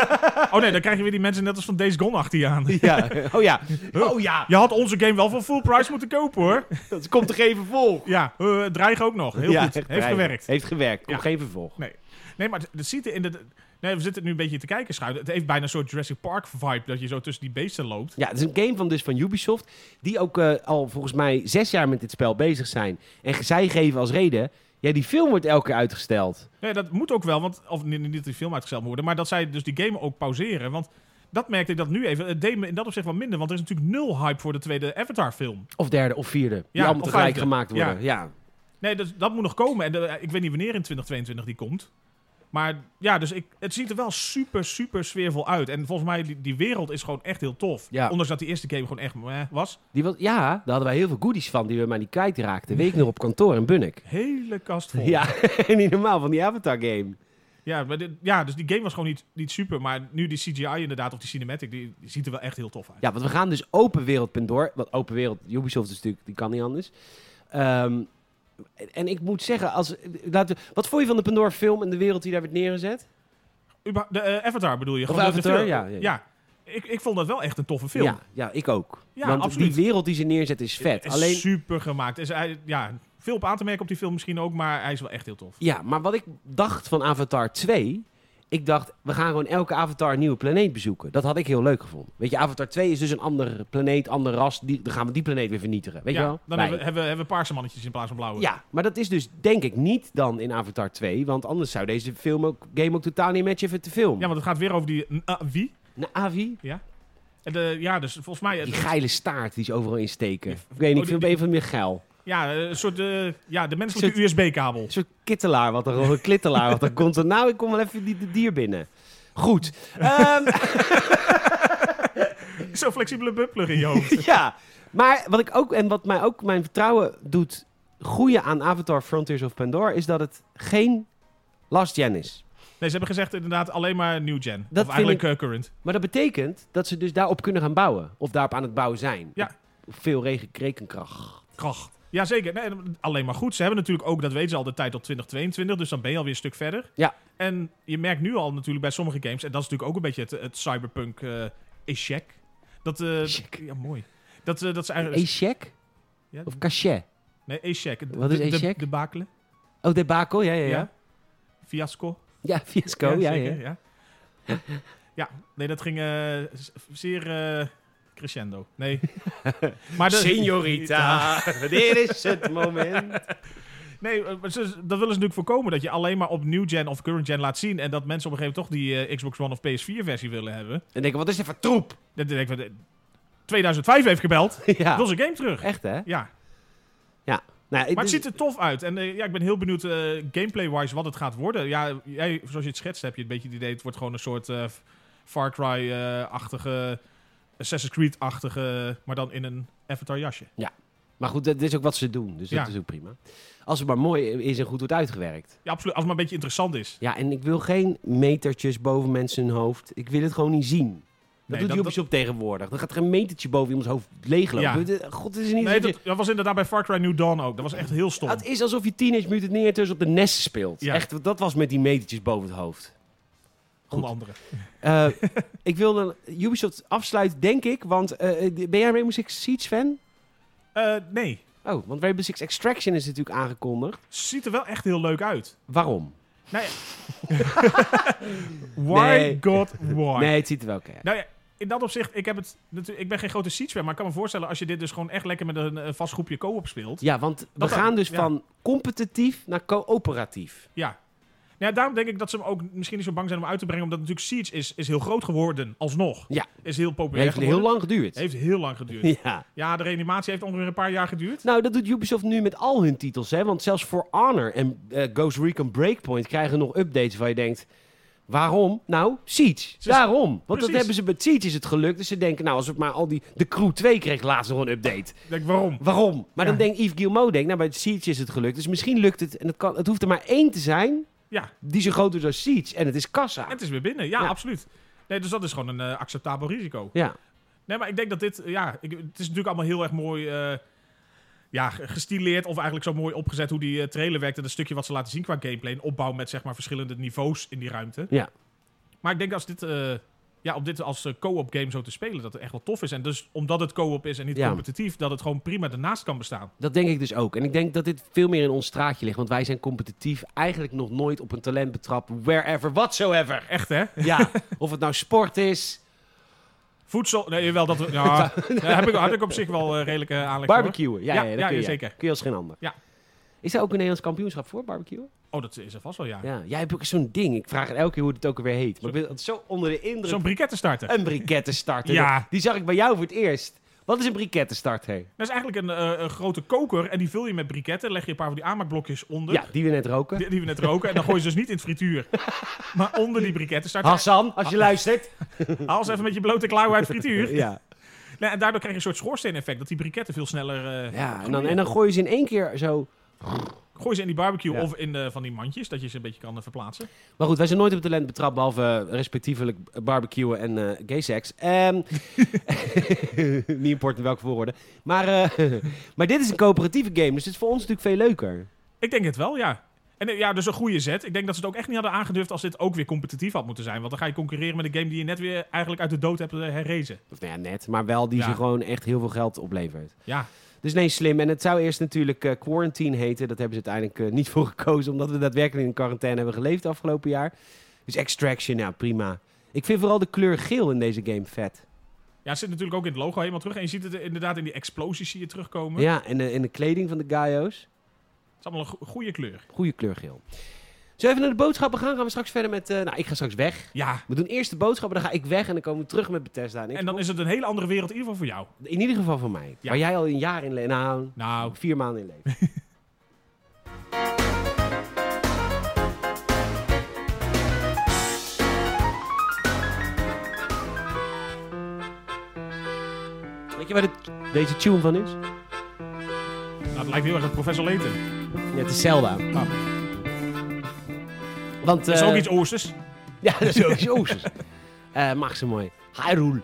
Speaker 2: Oh nee, dan krijg je weer die mensen net als van Days Gone achter je aan.
Speaker 1: Ja. *laughs* Oh ja. Oh ja.
Speaker 2: Je had onze game wel voor full price moeten kopen hoor.
Speaker 1: Dat komt toch even vol.
Speaker 2: Ja, eh dreigen ook nog. Heel
Speaker 1: Ja,
Speaker 2: goed.
Speaker 1: echt
Speaker 2: Heeft
Speaker 1: breien.
Speaker 2: gewerkt.
Speaker 1: Heeft gewerkt. Komt
Speaker 2: Ja.
Speaker 1: geen vervolg.
Speaker 2: Nee. Nee, maar het- het ziet er in de... Nee, we zitten nu een beetje te kijken, schuilen. Het heeft bijna een soort Jurassic Park vibe dat je zo tussen die beesten loopt.
Speaker 1: Ja, het is een game van, dus van Ubisoft. Die ook eh, al volgens mij zes jaar met dit spel bezig zijn. En zij geven als reden. Ja, die film wordt elke keer uitgesteld.
Speaker 2: Nee, dat moet ook wel, want of niet, niet dat die film uitgesteld moet worden, maar dat zij dus die game ook pauzeren, want dat merkte ik dat nu even. Het deed me in dat opzicht wel minder, want er is natuurlijk nul hype voor de tweede Avatar-film.
Speaker 1: Of derde of vierde. die
Speaker 2: Ja,
Speaker 1: allemaal
Speaker 2: of
Speaker 1: tegelijk
Speaker 2: vijfde.
Speaker 1: gemaakt worden. Ja.
Speaker 2: Nee, dus dat moet nog komen en eh, ik weet niet wanneer in 2022 die komt. Maar ja, dus ik, het ziet er wel super, super sfeervol uit. En volgens mij, die, die wereld is gewoon echt heel tof.
Speaker 1: Ja.
Speaker 2: Ondanks dat die eerste game gewoon echt meh was.
Speaker 1: Die was, ja, daar hadden wij heel veel goodies van die we maar niet kwijtraakten. Week nog op kantoor in Bunnik.
Speaker 2: Hele kast vol.
Speaker 1: Ja, *laughs* niet normaal van die Avatar game.
Speaker 2: Ja, maar dit- ja, dus die game was gewoon niet, niet super. Maar nu die CGI inderdaad, of die cinematic, die, die ziet er wel echt heel tof uit.
Speaker 1: Ja, want we gaan dus open wereld Pandora. Want open wereld, Ubisoft is natuurlijk, die kan niet anders. Ehm, en ik moet zeggen, als, laten we- wat vond je van de Pandora film en de wereld die daar werd neergezet?
Speaker 2: Uba- de eh, Avatar bedoel
Speaker 1: Of
Speaker 2: je? Gewoon de- de
Speaker 1: Avatar,
Speaker 2: film.
Speaker 1: ja, ja, ja.
Speaker 2: Ik, ik vond dat wel echt een toffe film.
Speaker 1: Ja, ja, ik ook.
Speaker 2: Ja,
Speaker 1: want
Speaker 2: absoluut.
Speaker 1: die wereld die ze neerzet is vet.
Speaker 2: Is
Speaker 1: Alleen,
Speaker 2: super gemaakt. Is, hij- ja, veel op aan te merken op die film misschien ook, maar hij is wel echt heel tof.
Speaker 1: ja, maar wat ik dacht van Avatar 2... Ik dacht, we gaan gewoon elke Avatar een nieuwe planeet bezoeken. Dat had ik heel leuk gevonden. Weet je, Avatar 2 is dus een andere planeet, ander ras. Die, dan gaan we die planeet weer vernietigen. Weet
Speaker 2: ja,
Speaker 1: je wel?
Speaker 2: Dan
Speaker 1: Wij.
Speaker 2: hebben, we- hebben, we- hebben we paarse mannetjes in plaats van blauwe.
Speaker 1: Ja, maar dat is dus denk ik niet dan in Avatar 2. Want anders zou deze film ook, game ook totaal niet matchen met de film.
Speaker 2: Ja, want het gaat weer over die... eh, wie?
Speaker 1: Nou, Avi,
Speaker 2: En de, ja, dus volgens mij...
Speaker 1: die
Speaker 2: het-
Speaker 1: geile staart die ze overal insteken.
Speaker 2: Ja.
Speaker 1: Ik weet niet, ik
Speaker 2: Oh, die-
Speaker 1: vind hem even meer geil.
Speaker 2: ja, een soort... eh, ja, de menselijke
Speaker 1: Soort-
Speaker 2: USB-kabel. *laughs*
Speaker 1: Een soort kittelaar, wat er, of een klittelaar, wat er komt. Nou, ik kom wel even die, de dier binnen. Goed. Ehm, *laughs*
Speaker 2: Zo'n flexibele bubbler in je hoofd.
Speaker 1: ja, maar wat ik ook, en wat mij ook mijn vertrouwen doet groeien aan Avatar Frontiers of Pandora, is dat het geen Last Gen is.
Speaker 2: Nee, ze hebben gezegd inderdaad alleen maar new gen.
Speaker 1: vind
Speaker 2: of eigenlijk eh, current.
Speaker 1: Maar dat betekent dat ze dus daarop kunnen gaan bouwen. Of daarop aan het bouwen zijn.
Speaker 2: Ja.
Speaker 1: Veel regen- rekenkracht.
Speaker 2: Kracht. Jazeker. Nee, alleen maar goed. Ze hebben natuurlijk ook, dat weten ze al, de tijd tot 2022. Dus dan ben je alweer een stuk verder.
Speaker 1: Ja.
Speaker 2: En je merkt nu al natuurlijk bij sommige games... en dat is natuurlijk ook een beetje het, het cyberpunk eh echec. Dat, eh,
Speaker 1: Echec.
Speaker 2: Ja, mooi. Dat, eh, dat ze eigenlijk...
Speaker 1: Echec?
Speaker 2: Ja.
Speaker 1: Of cachet?
Speaker 2: nee, echec. De-
Speaker 1: Wat is
Speaker 2: de- de-
Speaker 1: echec?
Speaker 2: De bakelen.
Speaker 1: Oh, debakel, ja, ja, ja.
Speaker 2: Fiasco.
Speaker 1: Ja, fiasco, ja, ja.
Speaker 2: zeker, ja. Ja, nee, dat ging eh, z- zeer eh, crescendo. Nee.
Speaker 1: *laughs*
Speaker 2: maar de-
Speaker 1: dit is het moment.
Speaker 2: Nee, eh, maar ze- dat willen ze natuurlijk voorkomen. Dat je alleen maar op new gen of current gen laat zien. En dat mensen op een gegeven moment toch die eh, Xbox One of PS4 versie willen hebben.
Speaker 1: En denken, wat is dit voor troep? *laughs*
Speaker 2: Dat denk ik, eh, 2005 heeft gebeld. Wil
Speaker 1: ja,
Speaker 2: zijn game terug.
Speaker 1: echt hè?
Speaker 2: Ja, maar
Speaker 1: Nou,
Speaker 2: het
Speaker 1: dus-
Speaker 2: ziet er tof uit. En eh, ja, ik ben heel benieuwd eh, gameplay-wise wat het gaat worden. Ja, jij, zoals je het schetst, heb je een beetje het idee... het wordt gewoon een soort eh, Far Cry-achtige... Assassin's Creed-achtige... maar dan in een Avatar-jasje.
Speaker 1: Maar goed, dat is ook wat ze doen, dus dat
Speaker 2: Ja.
Speaker 1: is ook prima. Als het maar mooi is en goed wordt uitgewerkt.
Speaker 2: Ja, absoluut. Als het maar een beetje interessant is.
Speaker 1: Ja, en ik wil geen metertjes boven mensen hun hoofd. Ik wil het gewoon niet zien. Dat
Speaker 2: Nee,
Speaker 1: doet Ubisoft tegenwoordig. Dan gaat er een metertje boven iemands hoofd leeglopen. God, het is niet...
Speaker 2: Nee,
Speaker 1: dat, je-
Speaker 2: dat, dat was inderdaad bij Far Cry New Dawn ook. Dat was echt heel stom.
Speaker 1: Het is alsof je Teenage Mutant Ninja Turtles op de NES speelt.
Speaker 2: Ja.
Speaker 1: Echt, dat was met die metertjes boven het hoofd.
Speaker 2: Onder andere. *laughs*
Speaker 1: Eh, ik wil dan Ubisoft afsluiten, denk ik. Want eh, die- ben jij een Rainbow Six Siege fan?
Speaker 2: Eh, nee.
Speaker 1: Oh, want Rainbow Six Extraction is natuurlijk aangekondigd.
Speaker 2: Ziet er wel echt heel leuk uit.
Speaker 1: Waarom?
Speaker 2: Nee. why
Speaker 1: Nee.
Speaker 2: god why?
Speaker 1: Nee, het ziet er wel oké uit.
Speaker 2: Nou ja, in dat opzicht, ik, heb het, natu- ik ben geen grote Siege fan, maar ik kan me voorstellen als je dit dus gewoon echt lekker met een eh, vast groepje co-op speelt.
Speaker 1: Ja, want we
Speaker 2: Dat dan,
Speaker 1: gaan dus
Speaker 2: ja.
Speaker 1: van competitief naar coöperatief.
Speaker 2: Ja. Nou Ja, daarom denk ik dat ze hem ook misschien niet zo bang zijn om uit te brengen. Omdat natuurlijk Siege is, is heel groot geworden, alsnog.
Speaker 1: Ja.
Speaker 2: Is heel populair
Speaker 1: Heeft
Speaker 2: geworden.
Speaker 1: heel lang geduurd.
Speaker 2: Heeft heel lang geduurd.
Speaker 1: Ja.
Speaker 2: Ja, de reanimatie heeft ongeveer een paar jaar geduurd.
Speaker 1: Nou, dat doet Ubisoft nu met al hun titels, hè? Want zelfs For Honor en eh, Ghost Recon Breakpoint krijgen nog updates waar je denkt... Waarom? Nou, Siege.
Speaker 2: Ze-
Speaker 1: Daarom. Want dat
Speaker 2: Precies.
Speaker 1: hebben ze bij Siege is het gelukt. Dus ze denken, nou, als we maar al die... De Crew 2 kreeg laatst nog een update.
Speaker 2: Ik denk, waarom?
Speaker 1: Waarom? Maar dan
Speaker 2: Ja.
Speaker 1: denkt Yves Guillemot, denkt, nou, bij Siege is het gelukt. Dus misschien lukt het. En het, kan, het hoeft er maar één te zijn
Speaker 2: Ja,
Speaker 1: die zo groot is als Siege. En het is kassa.
Speaker 2: en het is weer binnen. Ja,
Speaker 1: Ja.
Speaker 2: absoluut. Nee, dus dat is gewoon een eh, acceptabel risico.
Speaker 1: Ja.
Speaker 2: Nee, maar ik denk dat dit... eh, Ja, ik, het is natuurlijk allemaal heel erg mooi... eh, ja, ge- gestileerd of eigenlijk zo mooi opgezet hoe die eh, trailer werkt. En dat stukje wat ze laten zien qua gameplay. En opbouw met zeg maar verschillende niveaus in die ruimte.
Speaker 1: Ja.
Speaker 2: Maar ik denk als dit... eh, ja, om dit als eh, co-op game zo te spelen, dat het echt wel tof is. En dus omdat het co-op is en niet
Speaker 1: Ja.
Speaker 2: competitief, dat het gewoon prima ernaast kan bestaan.
Speaker 1: Dat denk ik dus ook. En ik denk dat dit veel meer in ons straatje ligt. Want wij zijn competitief eigenlijk nog nooit op een talent betrapt. Wherever, whatsoever.
Speaker 2: Echt, hè?
Speaker 1: Ja, of het nou sport is,
Speaker 2: Voedsel... Nee, wel dat...
Speaker 1: *laughs*
Speaker 2: we- Ja, daar heb ik, had ik op zich wel eh, redelijke aanleg voor.
Speaker 1: barbecuen. Ja, ja,
Speaker 2: Ja,
Speaker 1: dat
Speaker 2: ja,
Speaker 1: kun je.
Speaker 2: zeker.
Speaker 1: Kun je als geen ander.
Speaker 2: Ja.
Speaker 1: Is daar ook een Nederlands kampioenschap voor, barbecuen?
Speaker 2: Oh, dat is er vast wel, ja.
Speaker 1: Ja. Jij hebt ook zo'n ding. Ik vraag het elke keer hoe het ook alweer heet. Maar ik ben altijd zo onder de indruk.
Speaker 2: Zo'n brikettenstarter.
Speaker 1: Een brikettenstarter.
Speaker 2: Ja.
Speaker 1: Die zag ik bij jou voor het eerst. Wat is een brikettenstarter?
Speaker 2: Dat is eigenlijk een, eh, een grote koker en die vul je met briketten. Leg je een paar van die aanmaakblokjes onder.
Speaker 1: Ja, die we net roken.
Speaker 2: Die, die we net roken. En dan gooi je ze dus niet in het frituur. maar onder die brikettenstarter.
Speaker 1: Hassan, als je
Speaker 2: Ah.
Speaker 1: luistert.
Speaker 2: Haal ze even met je blote klauwen uit het frituur.
Speaker 1: Ja.
Speaker 2: Nee, en daardoor krijg je een soort schoorsteeneffect. Dat die briketten veel sneller... eh,
Speaker 1: ja en, dan, en dan gooi je ze in één keer zo
Speaker 2: Gooi ze in die barbecue
Speaker 1: Ja.
Speaker 2: of in eh, van die mandjes. Dat je ze een beetje kan eh, verplaatsen.
Speaker 1: Maar goed, wij zijn nooit op talent betrapt, behalve eh, respectievelijk barbecuen en eh gay seks. Ehm, *laughs* niet important in welke voorwoorden. Maar, eh, *laughs* maar dit is een coöperatieve game, dus het is voor ons natuurlijk veel leuker.
Speaker 2: Ik denk het wel, ja. En eh, ja, dus een goede zet. Ik denk dat ze het ook echt niet hadden aangedurfd als dit ook weer competitief had moeten zijn. Want dan ga je concurreren met een game die je net weer eigenlijk uit de dood hebt eh, herrezen.
Speaker 1: Of nou ja, net, maar wel die
Speaker 2: Ja.
Speaker 1: ze gewoon echt heel veel geld oplevert.
Speaker 2: Ja,
Speaker 1: Dus nee, slim. En het zou eerst natuurlijk eh, Quarantine heten. Dat hebben ze uiteindelijk eh, niet *laughs* voor gekozen, omdat we daadwerkelijk in quarantaine hebben geleefd afgelopen jaar. Dus Extraction, nou prima. Ik vind vooral de kleur geel in deze game vet.
Speaker 2: Ja, het zit natuurlijk ook in het logo helemaal terug. En je ziet het eh, inderdaad in die explosies zie je terugkomen.
Speaker 1: Ja, en de, en de kleding van de Gaio's.
Speaker 2: Het is allemaal een go- goede kleur.
Speaker 1: Goede kleur geel. Zullen we even naar de boodschappen gaan? Gaan we straks verder met... eh, nou, ik ga straks weg.
Speaker 2: Ja,
Speaker 1: We doen eerst de boodschappen, dan ga ik weg en dan komen we terug met Bethesda. En ik-
Speaker 2: en dan is het een hele andere wereld in ieder geval voor jou.
Speaker 1: In ieder geval voor mij.
Speaker 2: Ja.
Speaker 1: Waar jij al een jaar in leeft. Nou,
Speaker 2: Nou,
Speaker 1: vier maanden in
Speaker 2: *laughs*
Speaker 1: leeft. Weet je waar dit- deze tune van is?
Speaker 2: nou het lijkt heel erg op Professor Layton.
Speaker 1: Ja, het is Zelda. Want,
Speaker 2: Dat Ah. is
Speaker 1: eh,
Speaker 2: ook iets
Speaker 1: *laughs*
Speaker 2: oosters.
Speaker 1: Ja, dat is ook iets oosters. Eh, mag ze mooi. Hyrule.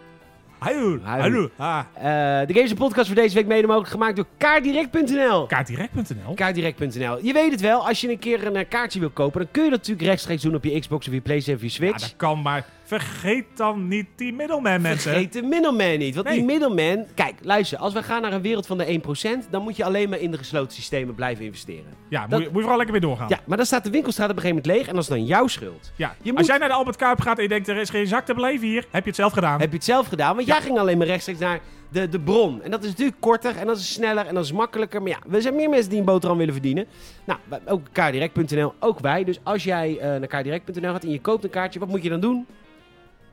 Speaker 2: Hallo, hallo.
Speaker 1: Hallo. Eh, de Games en Podcast voor deze week mede mogelijk gemaakt door kaartdirect.nl.
Speaker 2: Kaartdirect.nl.
Speaker 1: Kaartdirect.nl. Je weet het wel, als je een keer een eh, kaartje wil kopen, dan kun je dat natuurlijk rechtstreeks doen op je Xbox of je PlayStation of je
Speaker 2: Ja,
Speaker 1: Switch.
Speaker 2: dat kan, maar vergeet dan niet die middleman mensen.
Speaker 1: Vergeet de middleman niet. Want die
Speaker 2: Nee.
Speaker 1: middleman... Kijk, luister. Als we gaan naar een wereld van de 1%, dan moet je alleen maar in de gesloten systemen blijven investeren.
Speaker 2: Ja, moet,
Speaker 1: dat-
Speaker 2: je, moet je vooral lekker weer doorgaan.
Speaker 1: Ja, maar dan staat de winkelstraat op een gegeven moment leeg en dat is dan jouw schuld.
Speaker 2: Ja.
Speaker 1: Je moet-
Speaker 2: Als jij naar de Albert Kuip gaat en je denkt er is geen zak te blijven hier, heb je het zelf gedaan.
Speaker 1: Heb je het zelf gedaan? Want jij ging alleen maar rechtstreeks naar de, de bron. En dat is natuurlijk korter en dat is sneller en dat is makkelijker. Maar ja, we zijn meer mensen die een boterham willen verdienen. Nou, wij- ook kaardirect.nl, ook wij. Dus als jij eh, naar kaardirect.nl gaat en je koopt een kaartje, wat moet je dan doen?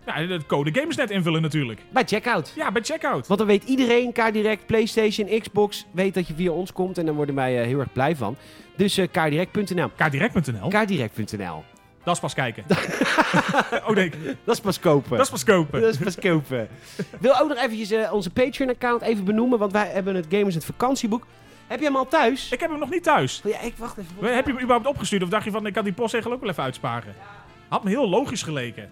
Speaker 2: Ja, de code Gamesnet invullen natuurlijk.
Speaker 1: Bij checkout.
Speaker 2: Ja, bij checkout.
Speaker 1: Want dan weet iedereen, kaardirect, PlayStation, Xbox, weet dat je via ons komt. En daar worden wij eh, heel erg blij van. Dus eh kaardirect.nl.
Speaker 2: Kaartdirect.nl.
Speaker 1: Kaardirect.nl.
Speaker 2: Dat is pas
Speaker 1: *laughs*
Speaker 2: kijken. oh nee,
Speaker 1: Dat is pas kopen.
Speaker 2: dat is pas kopen.
Speaker 1: Dat is pas kopen. Wil ook nog eventjes eh, onze Patreon-account even benoemen, want wij hebben het Gamers het vakantieboek. Heb je hem al thuis?
Speaker 2: Ik heb hem nog niet thuis.
Speaker 1: Ja, ik wacht even.
Speaker 2: Maar Heb je hem überhaupt opgestuurd of dacht je van ik kan die postzegel ook wel even uitsparen? Had me heel logisch geleken.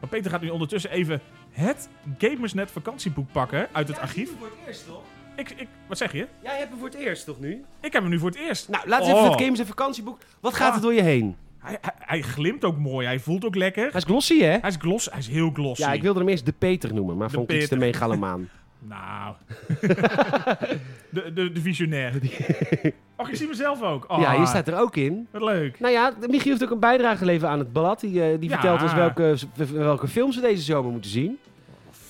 Speaker 2: Maar Peter gaat nu ondertussen even het Gamersnet vakantieboek pakken uit het archief.
Speaker 1: voor het eerst, toch?
Speaker 2: Ik, ik, wat zeg je?
Speaker 1: Jij hebt hem voor het eerst, toch nu?
Speaker 2: Ik heb hem nu voor het eerst.
Speaker 1: Nou, laten we even
Speaker 2: Oh. Ah.
Speaker 1: het Gamers en vakantieboek. Wat gaat
Speaker 2: Ja.
Speaker 1: er door je heen?
Speaker 2: Hij, hij, hij glimt ook mooi, hij voelt ook lekker.
Speaker 1: Hij is glossy, hè?
Speaker 2: Hij is gloss, hij is heel glossy.
Speaker 1: Ja, ik wilde hem eerst de Peter noemen, maar
Speaker 2: De
Speaker 1: vond ik iets te
Speaker 2: Peter. *laughs*
Speaker 1: megalomaan.
Speaker 2: Nou. de, de, de
Speaker 1: *laughs*
Speaker 2: visionair. Och, ik zie mezelf ook. Oh,
Speaker 1: Ja, hier staat er ook in.
Speaker 2: Wat leuk.
Speaker 1: Nou ja, Michiel heeft ook een bijdrage geleverd aan het blad. Die, eh, die
Speaker 2: Ja.
Speaker 1: vertelt ons welke, welke films we deze zomer moeten zien.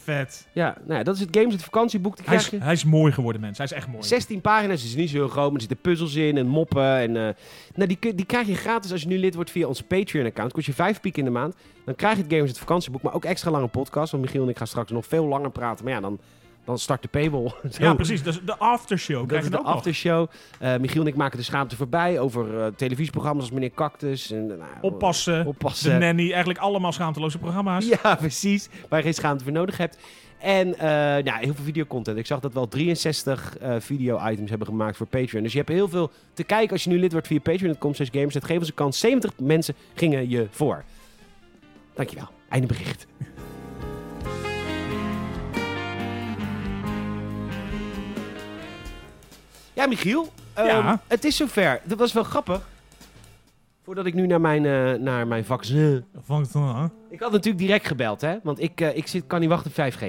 Speaker 2: vet.
Speaker 1: Ja, nou ja, dat is het Games, het vakantieboek. Die
Speaker 2: Hij
Speaker 1: krijg
Speaker 2: is,
Speaker 1: je.
Speaker 2: hij is mooi geworden, mensen. Hij is echt mooi.
Speaker 1: 16 pagina's, het is niet zo heel groot, maar er zitten puzzels in en moppen. En, eh, nou, die, kun- die krijg je gratis als je nu lid wordt via ons Patreon-account. Kost je 5 piek in de maand. Dan krijg je het Games het vakantieboek, maar ook extra lange podcast. Want Michiel en ik gaan straks nog veel langer praten. Maar ja, dan, dan start de paywall. *laughs* Zo.
Speaker 2: Ja, precies. Dat is de aftershow.
Speaker 1: Dat
Speaker 2: Krijg
Speaker 1: is
Speaker 2: je
Speaker 1: de
Speaker 2: dat ook nog.
Speaker 1: aftershow. Eh Michiel en ik maken de schaamte voorbij over eh, televisieprogramma's als Meneer Cactus. En, nou,
Speaker 2: Oppassen.
Speaker 1: Oppassen.
Speaker 2: De nanny. Eigenlijk allemaal schaamteloze programma's.
Speaker 1: Ja, *laughs* precies. Waar je geen schaamte voor nodig hebt. En eh ja, heel veel videocontent. Ik zag dat we al 63 eh, video-items hebben gemaakt voor Patreon. Dus je hebt heel veel te kijken als je nu lid wordt via patreon.com slash games. Dat geeft ons een kans. 70 mensen gingen je voor. Dankjewel. Einde bericht. Ja, Michiel. ehm,
Speaker 2: Ja.
Speaker 1: Het is zover. Dat was wel grappig. Voordat ik nu naar mijn, eh, naar mijn vaccin...
Speaker 2: Vangt dan aan.
Speaker 1: Ik had natuurlijk direct gebeld, hè? Want ik, eh, ik zit, kan niet wachten
Speaker 2: *laughs*
Speaker 1: op 5G.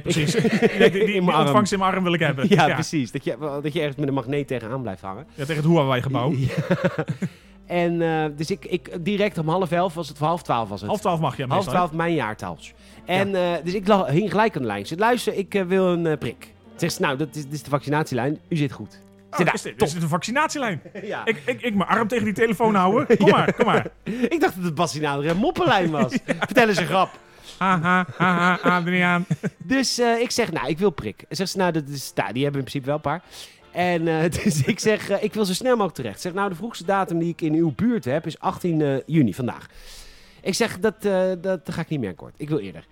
Speaker 1: *laughs*
Speaker 2: precies. Nee, die die, die
Speaker 1: In mijn arm.
Speaker 2: ontvangst in mijn arm wil ik hebben.
Speaker 1: Ja,
Speaker 2: ja.
Speaker 1: precies. Dat je, dat je ergens met een magneet tegenaan blijft hangen.
Speaker 2: Ja, tegen het Huawei-gebouw.
Speaker 1: Ja. en eh, dus ik, ik direct om half elf was het, of half twaalf was het.
Speaker 2: Half twaalf mag je meestal.
Speaker 1: Half twaalf mijn jaartals. En eh, dus ik lag, hing gelijk aan de lijn. Ik Zit, luister, ik eh, wil een eh, prik. Zegt ze, nou, dat is, dit is de vaccinatielijn. U zit goed.
Speaker 2: Oh,
Speaker 1: Zit daar.
Speaker 2: is dit, is dit een vaccinatielijn?
Speaker 1: ja. ik,
Speaker 2: Ik, ik, ik mijn arm tegen die telefoon
Speaker 1: *laughs*
Speaker 2: houden. Kom maar, kom maar.
Speaker 1: dacht dat het Bassinader een moppenlijn
Speaker 2: *laughs*
Speaker 1: was. Vertel eens een grap.
Speaker 2: Ha, ha, ha, ha, Adriaan.
Speaker 1: Dus eh, ik zeg, nou, ik wil prik. En zegt ze, nou, dat is, nou, die hebben in principe wel een paar. En eh, *laughs* dus ik zeg, eh, ik wil zo snel mogelijk terecht. Zeg, nou, de vroegste datum die ik in uw buurt heb is 18 eh, juni, vandaag. Ik zeg, dat, eh, dat ga ik niet meer kort. Ik wil
Speaker 2: *laughs*
Speaker 1: eerder.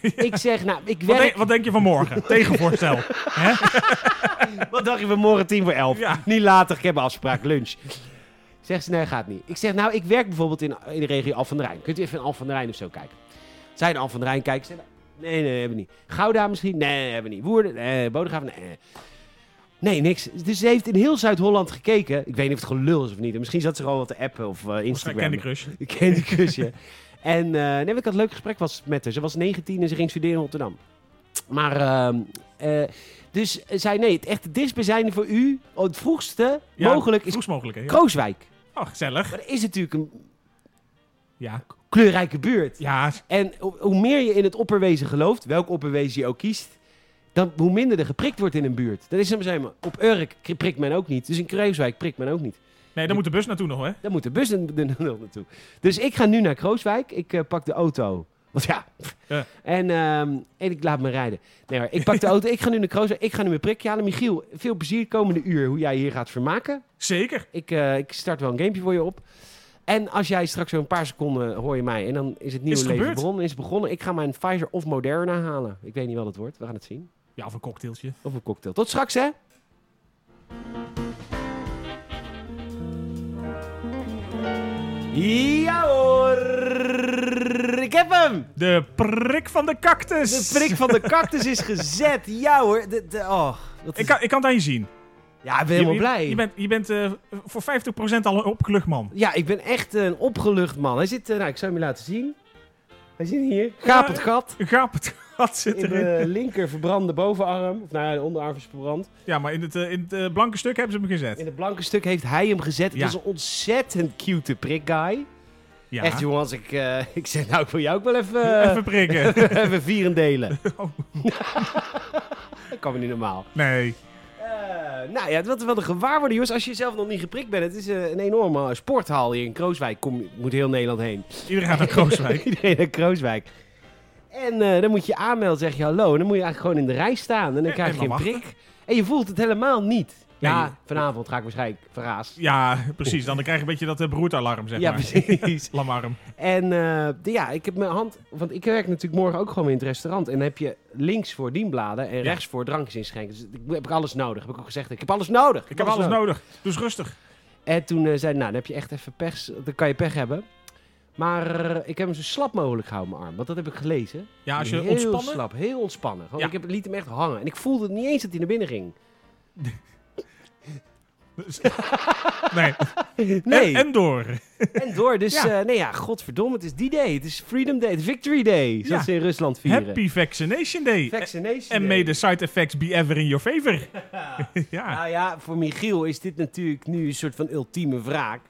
Speaker 1: Ik zeg, nou, ik
Speaker 2: Wat,
Speaker 1: werk...
Speaker 2: denk- wat denk je van
Speaker 1: *laughs*
Speaker 2: morgen? Tegenvoorstel. Hè?
Speaker 1: Wat dacht je van morgen tien voor elf?
Speaker 2: Ja.
Speaker 1: Niet later, ik heb een afspraak, lunch. Zegt ze, nee, gaat niet. Ik zeg, nou, ik werk bijvoorbeeld in, in de regio Al van der Rijn. Kunt u even in Al van der Rijn of zo kijken? Zij in Al van der Rijn kijken. Ik zeg, nee, nee, hebben we niet. Gouda misschien? Nee, hebben we niet. Woerden? Nee, Bodegraven? Nee. Nee, niks. Dus ze heeft in heel Zuid-Holland gekeken. Ik weet niet of het gelul is of niet. Misschien zat ze gewoon wat te appen of eh, Instagram.
Speaker 2: Candy Crush.
Speaker 1: Ik ken die kusje. En eh, nee, maar ik had een leuk gesprek was met haar. Ze was 19 en ze ging studeren in Rotterdam. Maar, ehm, eh, dus zei nee, het echte dichtstbijzijnde voor u, oh, het vroegste
Speaker 2: Ja,
Speaker 1: mogelijk, is
Speaker 2: vroegst mogelijk. Hè? Ja.
Speaker 1: Krooswijk.
Speaker 2: Oh, gezellig.
Speaker 1: Maar dat is natuurlijk een
Speaker 2: Ja.
Speaker 1: kleurrijke buurt.
Speaker 2: Ja,
Speaker 1: En ho- hoe meer je in het opperwezen gelooft, welk opperwezen je ook kiest, dan hoe minder er geprikt wordt in een buurt. Dat is hem zeg maar. Op Urk k- prikt men ook niet, dus in Krooswijk prikt men ook niet.
Speaker 2: nee, daar moet de bus naartoe nog, hè?
Speaker 1: Daar moet de bus n- n- naartoe. Dus ik ga nu naar Krooswijk. Ik eh, pak de auto. Want ja.
Speaker 2: Ja.
Speaker 1: En, ehm, en ik laat me rijden. Nee hoor, ik pak de auto. Ik ga nu naar Krooswijk. Ik ga nu mijn prikje halen. Michiel, veel plezier komende uur hoe jij je hier gaat vermaken.
Speaker 2: Zeker.
Speaker 1: Ik, eh, ik start wel een gamepje voor je op. En als jij straks zo'n paar seconden hoor je mij. En dan is het nieuwe
Speaker 2: het
Speaker 1: leven
Speaker 2: gebeurd?
Speaker 1: begonnen. Is het begonnen. Ik ga mijn Pfizer of Moderna halen. Ik weet niet wat het wordt. We gaan het zien.
Speaker 2: Ja, of een cocktailtje.
Speaker 1: Of een cocktail. Tot straks hè. Ja hoor, ik heb hem!
Speaker 2: De prik van de
Speaker 1: De
Speaker 2: cactus.
Speaker 1: prik van
Speaker 2: *laughs*
Speaker 1: de cactus is gezet. Ja hoor, de, de- oh, dat is-
Speaker 2: Ik kan, ik kan het aan je zien.
Speaker 1: ja, ik ben helemaal
Speaker 2: je,
Speaker 1: blij.
Speaker 2: Je bent, je bent eh, voor 50% al een opgelucht man.
Speaker 1: Ja, ik ben echt een opgelucht man. Hij zit, eh, nou ik zou hem je laten zien. Hij zit hier. Gapend gat.
Speaker 2: Een gaap het *laughs* gat zit
Speaker 1: In
Speaker 2: erin.
Speaker 1: de linker verbrande bovenarm. Of nou ja, de onderarm is verbrand.
Speaker 2: Ja, maar in het, eh, in het eh, blanke stuk hebben ze hem gezet.
Speaker 1: In het blanke stuk heeft hij hem gezet.
Speaker 2: Ja.
Speaker 1: Het is een ontzettend cute prik guy.
Speaker 2: Ja.
Speaker 1: Echt jongens, ik, eh, *laughs* ik zeg nou, ik wil jou ook wel even, eh,
Speaker 2: *laughs* Even prikken.
Speaker 1: even vieren delen.
Speaker 2: *laughs* Oh.
Speaker 1: *laughs* dat kan me niet normaal.
Speaker 2: nee.
Speaker 1: Eh, nou ja, wat, wat een gewaarwording jongens. Als je zelf nog niet geprikt bent. Het is eh, een enorme sporthal hier in Krooswijk. Kom, moet heel Nederland heen. *laughs*
Speaker 2: Iedereen gaat naar Krooswijk.
Speaker 1: Iedereen naar Krooswijk. En eh, dan moet je aanmelden, zeg je hallo. En dan moet je eigenlijk gewoon in de rij staan. En dan
Speaker 2: En-
Speaker 1: krijg
Speaker 2: en
Speaker 1: je een
Speaker 2: dan
Speaker 1: prik. En je voelt het helemaal niet.
Speaker 2: Nee.
Speaker 1: Ja, vanavond ga ik waarschijnlijk verraas.
Speaker 2: Ja, precies. Dan krijg je een beetje dat eh, beroertalarm, zeg
Speaker 1: Ja,
Speaker 2: maar.
Speaker 1: precies.
Speaker 2: *laughs* Lamarm.
Speaker 1: En eh, de- ja, ik heb mijn hand. Want ik werk natuurlijk morgen ook gewoon weer in het restaurant. En dan heb je links voor dienbladen en rechts voor drankjes inschenken. Dus ik, heb ik alles nodig. Heb ik ook gezegd. Ik heb alles nodig.
Speaker 2: Ik heb alles nodig. Dus rustig.
Speaker 1: En toen eh, zei hij, nou, dan heb je echt even pech. Dan kan je pech hebben. Maar eh, ik heb hem zo slap mogelijk gehouden, mijn arm. Want dat heb ik gelezen.
Speaker 2: Ja, als je
Speaker 1: heel
Speaker 2: ontspannen...
Speaker 1: slap, heel ontspannen. Gewoon,
Speaker 2: Ja.
Speaker 1: Ik heb, liet hem echt hangen. En ik voelde het niet eens dat hij naar binnen ging.
Speaker 2: Dus- *laughs* Nee.
Speaker 1: *laughs* Nee.
Speaker 2: En, en door.
Speaker 1: En door. Dus
Speaker 2: Ja.
Speaker 1: eh, nee, ja, godverdomme. Het is die day. Het is Freedom Day. Het is Victory Day. Zoals
Speaker 2: Ja.
Speaker 1: ze in Rusland vieren.
Speaker 2: Happy Vaccination Day.
Speaker 1: Vaccination
Speaker 2: en
Speaker 1: Day.
Speaker 2: may the side effects be ever in your
Speaker 1: *laughs*
Speaker 2: favor. ja.
Speaker 1: Nou ja, voor Michiel is dit natuurlijk nu een soort van ultieme wraak.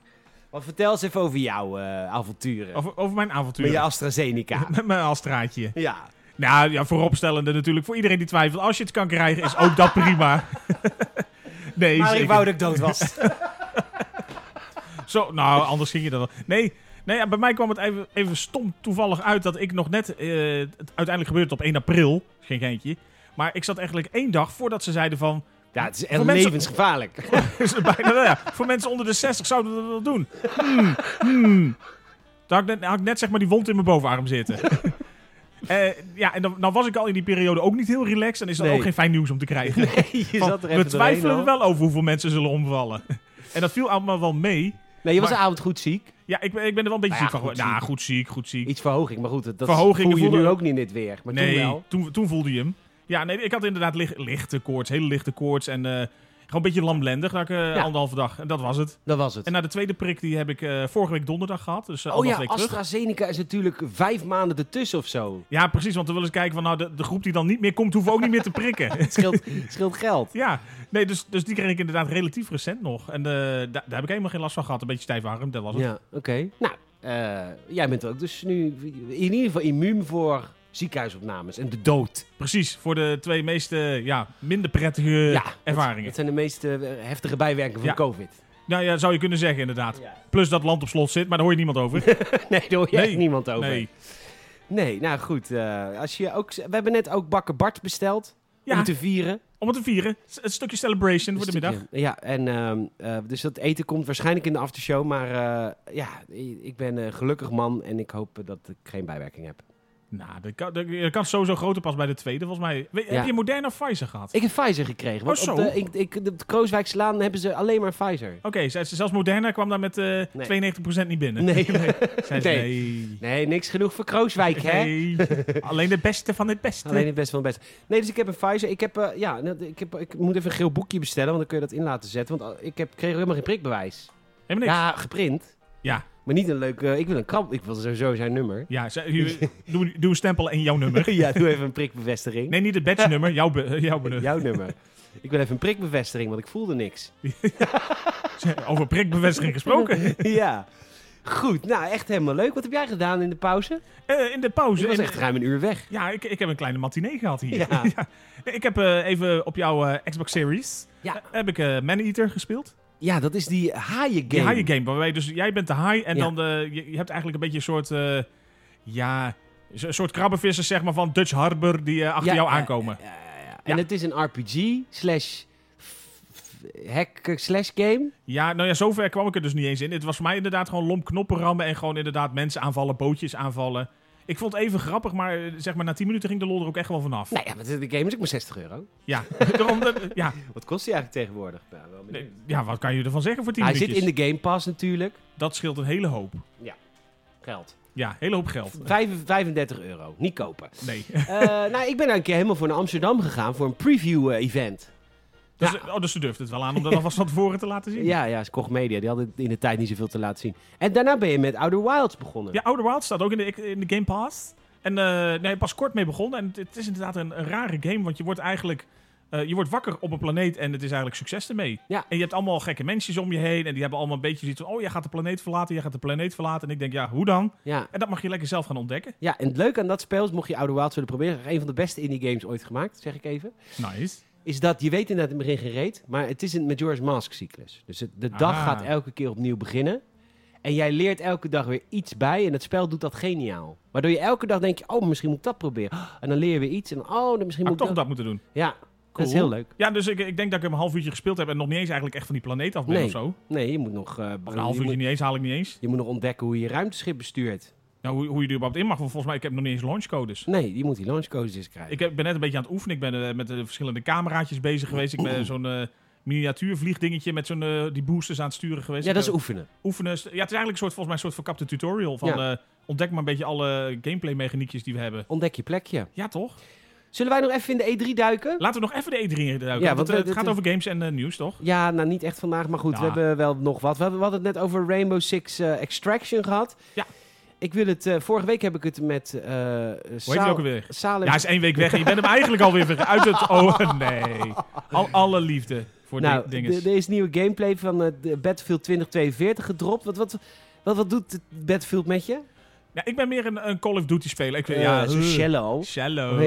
Speaker 1: Maar vertel eens even over jouw eh, avonturen.
Speaker 2: Over, over mijn avontuur. *laughs*
Speaker 1: Met je AstraZeneca.
Speaker 2: Met mijn Alstraatje.
Speaker 1: ja.
Speaker 2: Nou ja, vooropstellende natuurlijk voor iedereen die twijfelt. Als je het kan krijgen, is ook dat prima. *laughs* nee,
Speaker 3: Maar ik
Speaker 2: zeker.
Speaker 3: wou dat ik dood
Speaker 2: *laughs*
Speaker 3: was.
Speaker 2: Zo, nou, anders ging je dat wel. Nee, nee ja, bij mij kwam het even, even stom toevallig uit dat ik nog net... eh, het, uiteindelijk gebeurde het op 1 april, geen geintje. Maar ik zat eigenlijk één dag voordat ze zeiden van... *laughs*
Speaker 1: Ja, het is echt
Speaker 2: Voor mensen-
Speaker 1: levensgevaarlijk.
Speaker 2: is het bijna, nou ja, voor mensen onder de 60 zouden we dat wel doen. Hmm, hmm. Daar had ik, net, had ik net zeg maar die wond in mijn bovenarm zitten. *laughs* Eh, ja, en dan, dan was ik al in die periode ook niet heel relaxed. En is dat
Speaker 1: Nee.
Speaker 2: ook geen fijn nieuws om te krijgen.
Speaker 1: *laughs* Nee, je
Speaker 2: Van,
Speaker 1: zat er
Speaker 2: we
Speaker 1: even
Speaker 2: twijfelen
Speaker 1: doorheen
Speaker 2: er
Speaker 1: al.
Speaker 2: wel over hoeveel mensen zullen omvallen. *laughs* En dat viel allemaal wel mee.
Speaker 1: Nee, je was
Speaker 2: Maar-
Speaker 1: de avond goed ziek.
Speaker 2: Ja, ik ben, ik ben er wel een beetje
Speaker 1: Nou ja,
Speaker 2: ziek van
Speaker 1: goed
Speaker 2: geworden. Nou, goed ziek, goed ziek.
Speaker 1: Iets verhoging, maar goed, dat dat
Speaker 2: Verhoging
Speaker 1: voel je
Speaker 2: voelde-
Speaker 1: nu ook niet in dit weer. Maar
Speaker 2: nee,
Speaker 1: toen wel.
Speaker 2: Toen, toen voelde je hem. Ja, nee, ik had inderdaad lig- lichte koorts, hele lichte koorts. En eh, gewoon een beetje lamlendig, na ik, eh, anderhalve dag. En dat was het.
Speaker 1: Dat was het.
Speaker 2: En na de tweede prik die heb ik eh, vorige week donderdag gehad. Dus eh,
Speaker 1: oh ja,
Speaker 2: anderhalf week terug.
Speaker 1: AstraZeneca is natuurlijk vijf maanden ertussen of zo.
Speaker 2: Ja, precies. Want dan willen ze kijken van nou, de, de groep die dan niet meer komt, hoeven ook niet meer te
Speaker 1: *laughs*
Speaker 2: prikken. *laughs*
Speaker 1: Het scheelt, scheelt geld.
Speaker 2: ja, nee, dus, dus die kreeg ik inderdaad relatief recent nog. En eh, da- daar heb ik helemaal geen last van gehad. Een beetje stijf arm, dat was het.
Speaker 1: Ja, oké. Nou, eh, jij bent ook dus nu in ieder geval immuun voor ziekenhuisopnames en de dood.
Speaker 2: Precies, voor de twee meeste ja, minder prettige
Speaker 1: ja,
Speaker 2: ervaringen.
Speaker 1: Dat zijn de meest eh, heftige bijwerkingen van
Speaker 2: Ja.
Speaker 1: COVID. *laughs*
Speaker 2: Nou ja, zou je kunnen zeggen inderdaad.
Speaker 1: Ja.
Speaker 2: Plus dat land op slot zit, maar daar hoor je
Speaker 1: *laughs*
Speaker 2: niemand over.
Speaker 1: Nee, daar hoor je
Speaker 2: Nee,
Speaker 1: echt niemand over.
Speaker 2: Nee.
Speaker 1: Nee, nou goed. eh, als je ook, we hebben net ook Bakker Bart besteld.
Speaker 2: Ja,
Speaker 1: Om te vieren.
Speaker 2: om het te vieren. S- Een stukje celebration voor de
Speaker 1: Een
Speaker 2: middag.
Speaker 1: stukje. Ja, en, ehm, eh, dus dat eten komt waarschijnlijk in de aftershow. Maar eh, ja, i- ik ben een gelukkig man en ik hoop eh, dat ik geen bijwerking heb.
Speaker 2: Nou, de, ka- de, de kans is sowieso groter pas bij de tweede, volgens mij. Weet-
Speaker 1: Ja.
Speaker 2: Heb je Moderna of Pfizer gehad?
Speaker 1: Ik heb Pfizer gekregen. Want
Speaker 2: Oh, zo.
Speaker 1: op de, ik, ik, op de Krooswijkslaan hebben ze alleen maar Pfizer.
Speaker 2: Oké, zei ze, zelfs Moderna kwam daar met eh 92% niet binnen.
Speaker 1: Nee.
Speaker 2: Zei ze,
Speaker 1: Nee.
Speaker 2: nee.
Speaker 1: Nee, niks genoeg voor Krooswijk, hè? *laughs*
Speaker 2: Nee. Alleen de beste van het beste.
Speaker 1: Alleen het best van het beste. Nee, dus ik heb een Pfizer. Ik, heb, eh, ja, net- ik, heb, ik moet even een geel boekje bestellen, want dan kun je dat in laten zetten. Want eh, ik heb, kreeg helemaal geen prikbewijs.
Speaker 2: Helemaal niks.
Speaker 1: Ja, geprint.
Speaker 2: Ja.
Speaker 1: Maar niet een leuk... eh, ik wil een krab... Ik wil sowieso zijn nummer.
Speaker 2: Ja, ze- hier, doe, doe een stempel en jouw
Speaker 1: *laughs*
Speaker 2: nummer.
Speaker 1: ja, doe even een prikbevestiging.
Speaker 2: Nee, niet het badge nummer, jouw, be- jouw nummer.
Speaker 1: Jouw nummer. Ik wil even een prikbevestiging, want ik voelde niks.
Speaker 2: Over prikbevestiging gesproken.
Speaker 1: *laughs* ja. Goed, nou echt helemaal leuk. Wat heb jij gedaan in de pauze?
Speaker 2: Eh, in de pauze.
Speaker 1: Je was
Speaker 2: in-
Speaker 1: echt ruim een uur weg.
Speaker 2: Ja, ik, ik heb een kleine matinee gehad hier.
Speaker 1: Ja.
Speaker 2: Nee, Ik heb eh, even op jouw eh, Xbox Series
Speaker 1: Ja.
Speaker 2: heb ik eh Man Eater gespeeld.
Speaker 1: Ja, dat is die haaien
Speaker 2: Die
Speaker 1: game.
Speaker 2: haaien game, waarbij dus jij bent de haai en
Speaker 1: Ja.
Speaker 2: dan de, je, je hebt eigenlijk een beetje een soort, eh, ja, zo- een soort krabbenvissers zeg maar van Dutch Harbor die eh, achter
Speaker 1: Ja,
Speaker 2: jou
Speaker 1: eh,
Speaker 2: aankomen.
Speaker 1: Ja, ja, ja.
Speaker 2: Ja.
Speaker 1: En het is een RPG slash f- f- hack slash game.
Speaker 2: Ja, nou ja, zover kwam ik er dus niet eens in. Het was voor mij inderdaad gewoon lomp knoppen rammen en gewoon inderdaad mensen aanvallen, bootjes aanvallen. Ik vond het even grappig, maar eh, zeg maar na 10 minuten ging de lol er ook echt wel vanaf.
Speaker 1: Nou ja, maar de game is ook maar 60 euro.
Speaker 2: Ja, *laughs* daarom dat- ja.
Speaker 1: Wat kost die eigenlijk tegenwoordig? Nou, wel
Speaker 2: Nee,
Speaker 1: benieuwd.
Speaker 2: ja, wat kan je ervan zeggen voor 10
Speaker 1: Hij zit
Speaker 2: minuutjes?
Speaker 1: in de Game Pass natuurlijk.
Speaker 2: Dat scheelt een hele hoop.
Speaker 1: Geld.
Speaker 2: Ja, een hele hoop geld.
Speaker 1: Vijf- 35 euro. Niet kopen.
Speaker 2: Nee.
Speaker 1: Eh, nou, ik ben daar een keer helemaal voor naar Amsterdam gegaan voor een eh, preview-event.
Speaker 2: *laughs* Dus, Oh, dus ze durft het wel aan om dat alvast van tevoren te laten zien.
Speaker 1: ja, ja, is Koch Media. Die hadden in de tijd niet zoveel te laten zien. En daarna ben je met Outer Wilds begonnen.
Speaker 2: Ja, Outer Wilds staat ook in de, in de Game Pass. En eh nee, pas kort mee begonnen. En het, het is inderdaad een, een rare game, want je wordt eigenlijk... eh, je wordt wakker op een planeet en het is eigenlijk succes ermee.
Speaker 1: Ja.
Speaker 2: En je hebt allemaal gekke mensjes om je heen. En die hebben allemaal een beetje zoiets van... Oh, jij gaat de planeet verlaten, jij gaat de planeet verlaten. En ik denk, ja, hoe dan?
Speaker 1: Ja.
Speaker 2: En dat mag je lekker zelf gaan ontdekken.
Speaker 1: ja, en het leuke aan dat spel is, mocht je Outer Wilds willen proberen, een van de beste indie games ooit gemaakt, zeg ik even,
Speaker 2: Nice.
Speaker 1: is dat je weet inderdaad in het begin geen reet, maar het is een Majora's Mask cyclus. Dus het- de dag
Speaker 2: Ah.
Speaker 1: gaat elke keer opnieuw beginnen. En jij leert elke dag weer iets bij en het spel doet dat geniaal. Waardoor je elke dag denk je, oh, misschien moet ik dat proberen. En dan leer je weer iets en oh, dan misschien
Speaker 2: Had ik
Speaker 1: moet
Speaker 2: toch
Speaker 1: ik dat.
Speaker 2: dat moeten doen.
Speaker 1: Ja, dat is
Speaker 2: Cool.
Speaker 1: heel leuk.
Speaker 2: Ja, dus ik, ik denk dat ik hem een half uurtje gespeeld heb... en nog niet eens eigenlijk echt van die planeet af ben
Speaker 1: Nee.
Speaker 2: of zo.
Speaker 1: Nee, je moet nog, eh,
Speaker 2: Of een half
Speaker 1: je,
Speaker 2: uurtje
Speaker 1: moet,
Speaker 2: niet eens, haal ik niet eens.
Speaker 1: je moet nog ontdekken hoe je je ruimteschip bestuurt.
Speaker 2: Nou, hoe, hoe je er überhaupt in mag. Want volgens mij, ik heb nog niet eens launchcodes.
Speaker 1: Nee, je moet die launchcodes eens krijgen.
Speaker 2: Ik heb- ben net een beetje aan het oefenen. Ik ben eh, met de verschillende cameraatjes bezig geweest. Ik ben zo'n eh, miniatuurvliegdingetje met zo'n, eh, die boosters aan het sturen geweest.
Speaker 1: Ja,
Speaker 2: Ik
Speaker 1: dat is
Speaker 2: ben
Speaker 1: oefenen.
Speaker 2: oefenen. Ja, het is eigenlijk een soort, volgens mij een soort verkapte tutorial. Van, eh, ontdek maar een beetje alle gameplay mechaniekjes die we hebben.
Speaker 1: Ontdek je plekje.
Speaker 2: Ja, toch?
Speaker 1: Zullen wij nog even in de E3 duiken?
Speaker 2: Laten we nog even de E3 induiken.
Speaker 1: Ja,
Speaker 2: want
Speaker 1: want
Speaker 2: eh,
Speaker 1: we-
Speaker 2: het
Speaker 1: dit
Speaker 2: gaat
Speaker 1: is-
Speaker 2: over games en eh, nieuws, toch?
Speaker 1: Ja, nou niet echt vandaag, maar goed,
Speaker 2: Ja.
Speaker 1: we hebben wel nog wat. We hebben- we hadden het net over Rainbow Six eh, Extraction gehad.
Speaker 2: Ja.
Speaker 1: Ik wil het, eh, vorige week heb ik het met eh
Speaker 2: Hoe heet
Speaker 1: Sal-
Speaker 2: je ook alweer? Ja,
Speaker 1: Salem.
Speaker 2: hij is één week weg en je bent hem eigenlijk alweer ver- uit het... *laughs* Oh, nee. Al, alle liefde voor
Speaker 1: nou,
Speaker 2: die dingen.
Speaker 1: d- er is nieuwe gameplay van eh, de Battlefield 2042 gedropt. Wat, wat, wat, wat doet Battlefield met je?
Speaker 2: Ja, Nou, ik ben meer een, een Call of Duty speler. Ik,
Speaker 1: Ja,
Speaker 2: vind- ja,
Speaker 1: zo
Speaker 2: eh,
Speaker 1: shallow. Oh,
Speaker 2: Shallow.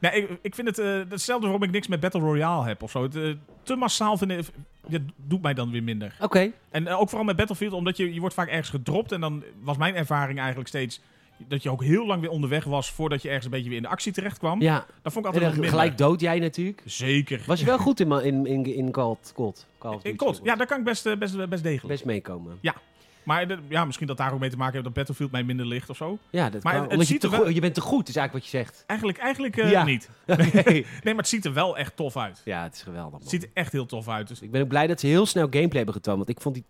Speaker 2: Nee, ik, ik vind het eh, hetzelfde waarom ik niks met Battle Royale heb of zo. Het, eh, te massaal vind ik, ja, doet mij dan weer minder.
Speaker 1: *laughs* Oké.
Speaker 2: En eh, ook vooral met Battlefield, omdat je, je wordt vaak ergens gedropt. En dan was mijn ervaring eigenlijk steeds dat je ook heel lang weer onderweg was voordat je ergens een beetje weer in de actie terecht kwam.
Speaker 1: Ja,
Speaker 2: Dat vond ik
Speaker 1: en
Speaker 2: altijd
Speaker 1: dan
Speaker 2: nog minder.
Speaker 1: gelijk dood jij natuurlijk.
Speaker 2: Zeker.
Speaker 1: Was je wel goed in, ma- in, in, in Call, of- Call of Call of
Speaker 2: In
Speaker 1: Duty?
Speaker 2: kot. Ja, daar kan ik best, eh, best, best degelijk.
Speaker 1: Best meekomen.
Speaker 2: Maar de- ja, misschien dat daar ook mee te maken heeft dat Battlefield mij minder ligt of zo.
Speaker 1: Ja, dat
Speaker 2: Maar
Speaker 1: kan.
Speaker 2: het- het
Speaker 1: Omdat je,
Speaker 2: ziet
Speaker 1: te
Speaker 2: er
Speaker 1: goe-
Speaker 2: wel-
Speaker 1: je bent te goed, is eigenlijk wat je zegt. *laughs*
Speaker 2: Eigenlijk, eigenlijk eh,
Speaker 1: Ja.
Speaker 2: niet.
Speaker 1: Oké.
Speaker 2: *laughs* Nee, maar het ziet er wel echt tof uit.
Speaker 1: ja, het is geweldig. Man.
Speaker 2: Het ziet er echt heel tof uit. Dus
Speaker 1: Ik ben ook blij dat ze heel snel gameplay hebben getoond. Want ik vond die,